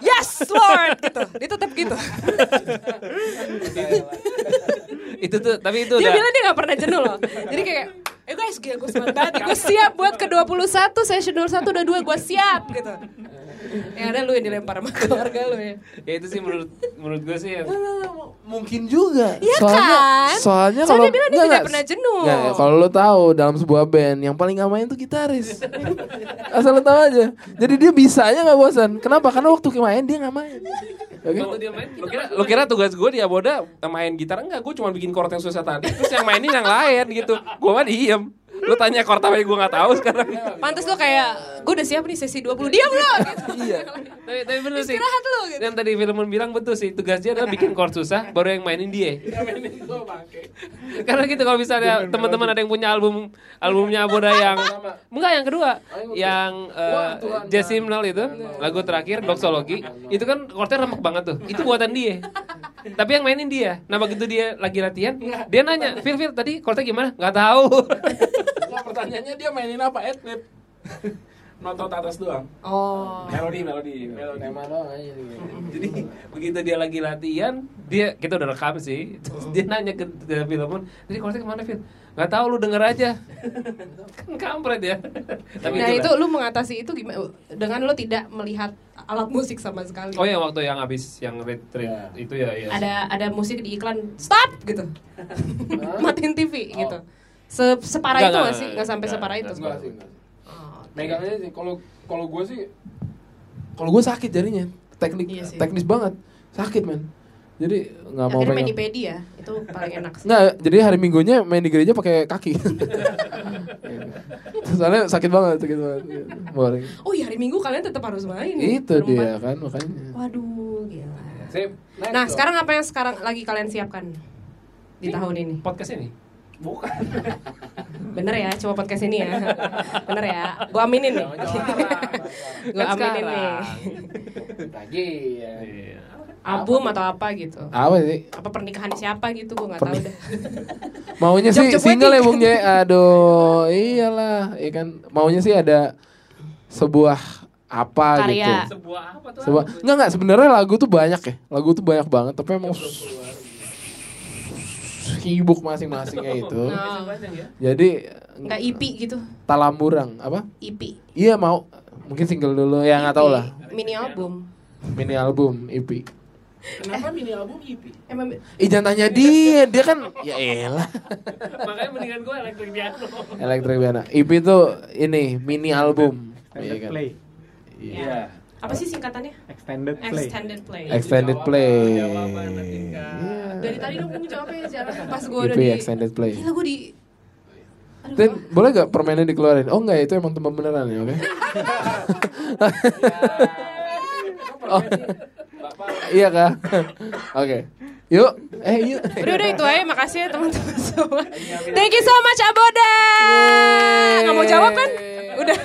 Speaker 1: Yes Lord gitu. Dia tetap gitu.
Speaker 6: itu tuh tapi itu
Speaker 1: dia
Speaker 6: udah
Speaker 1: bilang dia gak pernah jenuh loh. Jadi kayak Eh guys, gila gue semangat banget. Gue siap buat ke 21, session 21 udah 2, gue siap gitu. Yang ada lu yang dilempar sama keluarga lu ya.
Speaker 6: ya itu sih menurut menurut gue sih ya. yang
Speaker 2: Mungkin juga.
Speaker 1: Iya
Speaker 2: soalnya,
Speaker 1: kan?
Speaker 2: Soalnya
Speaker 1: Soalnya
Speaker 2: kalau
Speaker 1: dia bilang dia
Speaker 2: Enggak,
Speaker 1: tidak
Speaker 2: enggak.
Speaker 1: pernah jenuh.
Speaker 2: Enggak, enggak. kalau lo tahu dalam sebuah band yang paling gak main tuh gitaris. Asal lo tahu aja. Jadi dia bisanya nggak bosan. Kenapa? Karena waktu main dia nggak main. Ya kan? Oke.
Speaker 6: waktu dia main
Speaker 4: Lu kira, lu kira tugas gue di Aboda main gitar enggak? Gue cuma bikin chord yang susah tadi. Terus yang mainin yang lain gitu. Gue mah diem. Lu tanya chord apa yang gue nggak tahu sekarang.
Speaker 1: Pantes lu kayak, gue udah siap nih sesi 20, diam lu gitu.
Speaker 2: Iya.
Speaker 6: tapi tapi bener sih
Speaker 1: Istirahat lu gitu.
Speaker 6: yang tadi Filmon bilang betul sih tugas dia adalah bikin chord susah baru yang mainin dia
Speaker 3: Ini gua pakai.
Speaker 6: karena gitu kalau misalnya teman-teman ada yang punya album albumnya Aboda yang enggak yang kedua yang
Speaker 3: Wah,
Speaker 6: eh,
Speaker 3: Tuhan,
Speaker 6: Jazz Hymnal itu lagu terakhir Doxology itu kan chordnya remek banget tuh itu buatan dia tapi yang mainin dia nah begitu dia lagi latihan dia nanya Phil Phil tadi chordnya gimana nggak tahu
Speaker 3: Nah, pertanyaannya dia mainin apa? Adlib. Notot atas doang. Iya.
Speaker 1: Oh.
Speaker 3: Melodi, melodi, melodi.
Speaker 5: Tema doang aja sih.
Speaker 6: jadi begitu dia lagi latihan dia kita udah rekam sih Terus dia
Speaker 3: Oh.
Speaker 6: nanya ke, ke Philmon tadi chordnya kemana Phil nggak tahu lu denger aja kan kampret
Speaker 3: Iya,
Speaker 6: ya tapi
Speaker 1: nah
Speaker 6: itulah.
Speaker 1: itu lu mengatasi itu gimana? Dengan lu tidak melihat alat musik sama sekali.
Speaker 6: Oh
Speaker 2: iya,
Speaker 6: ya waktu yang habis yang retreat itu ya ya.
Speaker 1: Ada ada musik di iklan, stop gitu. Matiin TV
Speaker 2: Oh.
Speaker 1: gitu. Se separah
Speaker 6: Enggak,
Speaker 1: itu
Speaker 6: enggak,
Speaker 1: gak sih?
Speaker 6: enggak,
Speaker 1: Gak sampai
Speaker 6: enggak,
Speaker 1: separah itu.
Speaker 6: enggak,
Speaker 5: Enggak sih. enggak sih.
Speaker 1: Oh, oke.
Speaker 3: Megangnya sih kalau kalau gue sih
Speaker 2: Kalau gue sakit jarinya. Teknik
Speaker 1: Iya sih.
Speaker 2: teknis banget. Sakit, men. Jadi nggak mau
Speaker 1: Akhirnya main di
Speaker 2: pegang.
Speaker 1: pedi ya, itu paling enak sih.
Speaker 2: Nggak, jadi hari minggunya main di gereja pakai kaki. Gitu. Soalnya sakit banget, sakit banget. gitu. Boring.
Speaker 1: Oh iya hari Minggu kalian tetap harus main. ya,
Speaker 2: Itu
Speaker 1: berempat.
Speaker 2: dia kan makanya.
Speaker 1: Waduh, gila.
Speaker 3: Sip. Next
Speaker 1: Nah,
Speaker 3: dong.
Speaker 1: sekarang apa yang sekarang lagi kalian siapkan di tahun ini?
Speaker 6: podcast ini
Speaker 3: bukan.
Speaker 1: Bener ya, coba podcast ini ya. Bener ya, gua aminin nih. Gua
Speaker 6: Kan
Speaker 1: aminin nih.
Speaker 5: Lagi ya.
Speaker 6: Iya.
Speaker 1: Album atau apa gitu?
Speaker 2: Apa sih?
Speaker 1: Apa pernikahan siapa gitu? Gua nggak tahu
Speaker 2: Pernik-
Speaker 1: deh.
Speaker 2: Maunya
Speaker 1: Job-
Speaker 2: sih
Speaker 1: job
Speaker 2: single ya
Speaker 1: wedding.
Speaker 2: Bung J. Aduh, iyalah, ya kan. Maunya sih ada sebuah apa
Speaker 1: Karya.
Speaker 2: gitu.
Speaker 6: sebuah apa tuh
Speaker 2: Sebuah enggak enggak sebenarnya lagu tuh banyak ya. Lagu tuh banyak banget tapi emang sibuk masing-masingnya itu.
Speaker 1: Nah.
Speaker 2: Jadi
Speaker 1: Nggak IP gitu,
Speaker 2: talamurang apa?
Speaker 1: IP.
Speaker 2: Iya mau mungkin single dulu ya nggak tahu lah
Speaker 1: Mini album.
Speaker 2: mini album E EP.
Speaker 3: Kenapa mini album EP?
Speaker 1: Emang
Speaker 2: Ih Eh, jangan tanya dia, dia kan ya elah.
Speaker 6: makanya mendingan gue elektrik piano
Speaker 2: Electric Piano. EP itu ini mini album. Iya
Speaker 10: Extended
Speaker 2: kan?
Speaker 10: play.
Speaker 2: Iya.
Speaker 3: Iya.
Speaker 1: apa sih singkatannya?
Speaker 10: Extended play.
Speaker 1: Extended play.
Speaker 2: Extended play.
Speaker 6: Jawaban, Atika.
Speaker 2: Iya.
Speaker 1: Dari tadi dong Bung jawabnya jalan pas gua udah
Speaker 2: EP
Speaker 1: di.
Speaker 2: extended play.
Speaker 1: Gila gua di. Aduh,
Speaker 2: Tin, boleh gak permennya dikeluarin? Oh enggak, itu emang tempat beneran ya, oke?
Speaker 1: Iya,
Speaker 2: Oh. Iya kak? Oke. Yuk. Eh, yuk.
Speaker 1: Udah udah itu aja makasih ya teman-teman semua. Thank you so much Aboda. Nggak mau jawab kan? Udah.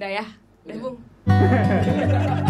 Speaker 1: Udah ya. Udah Bung.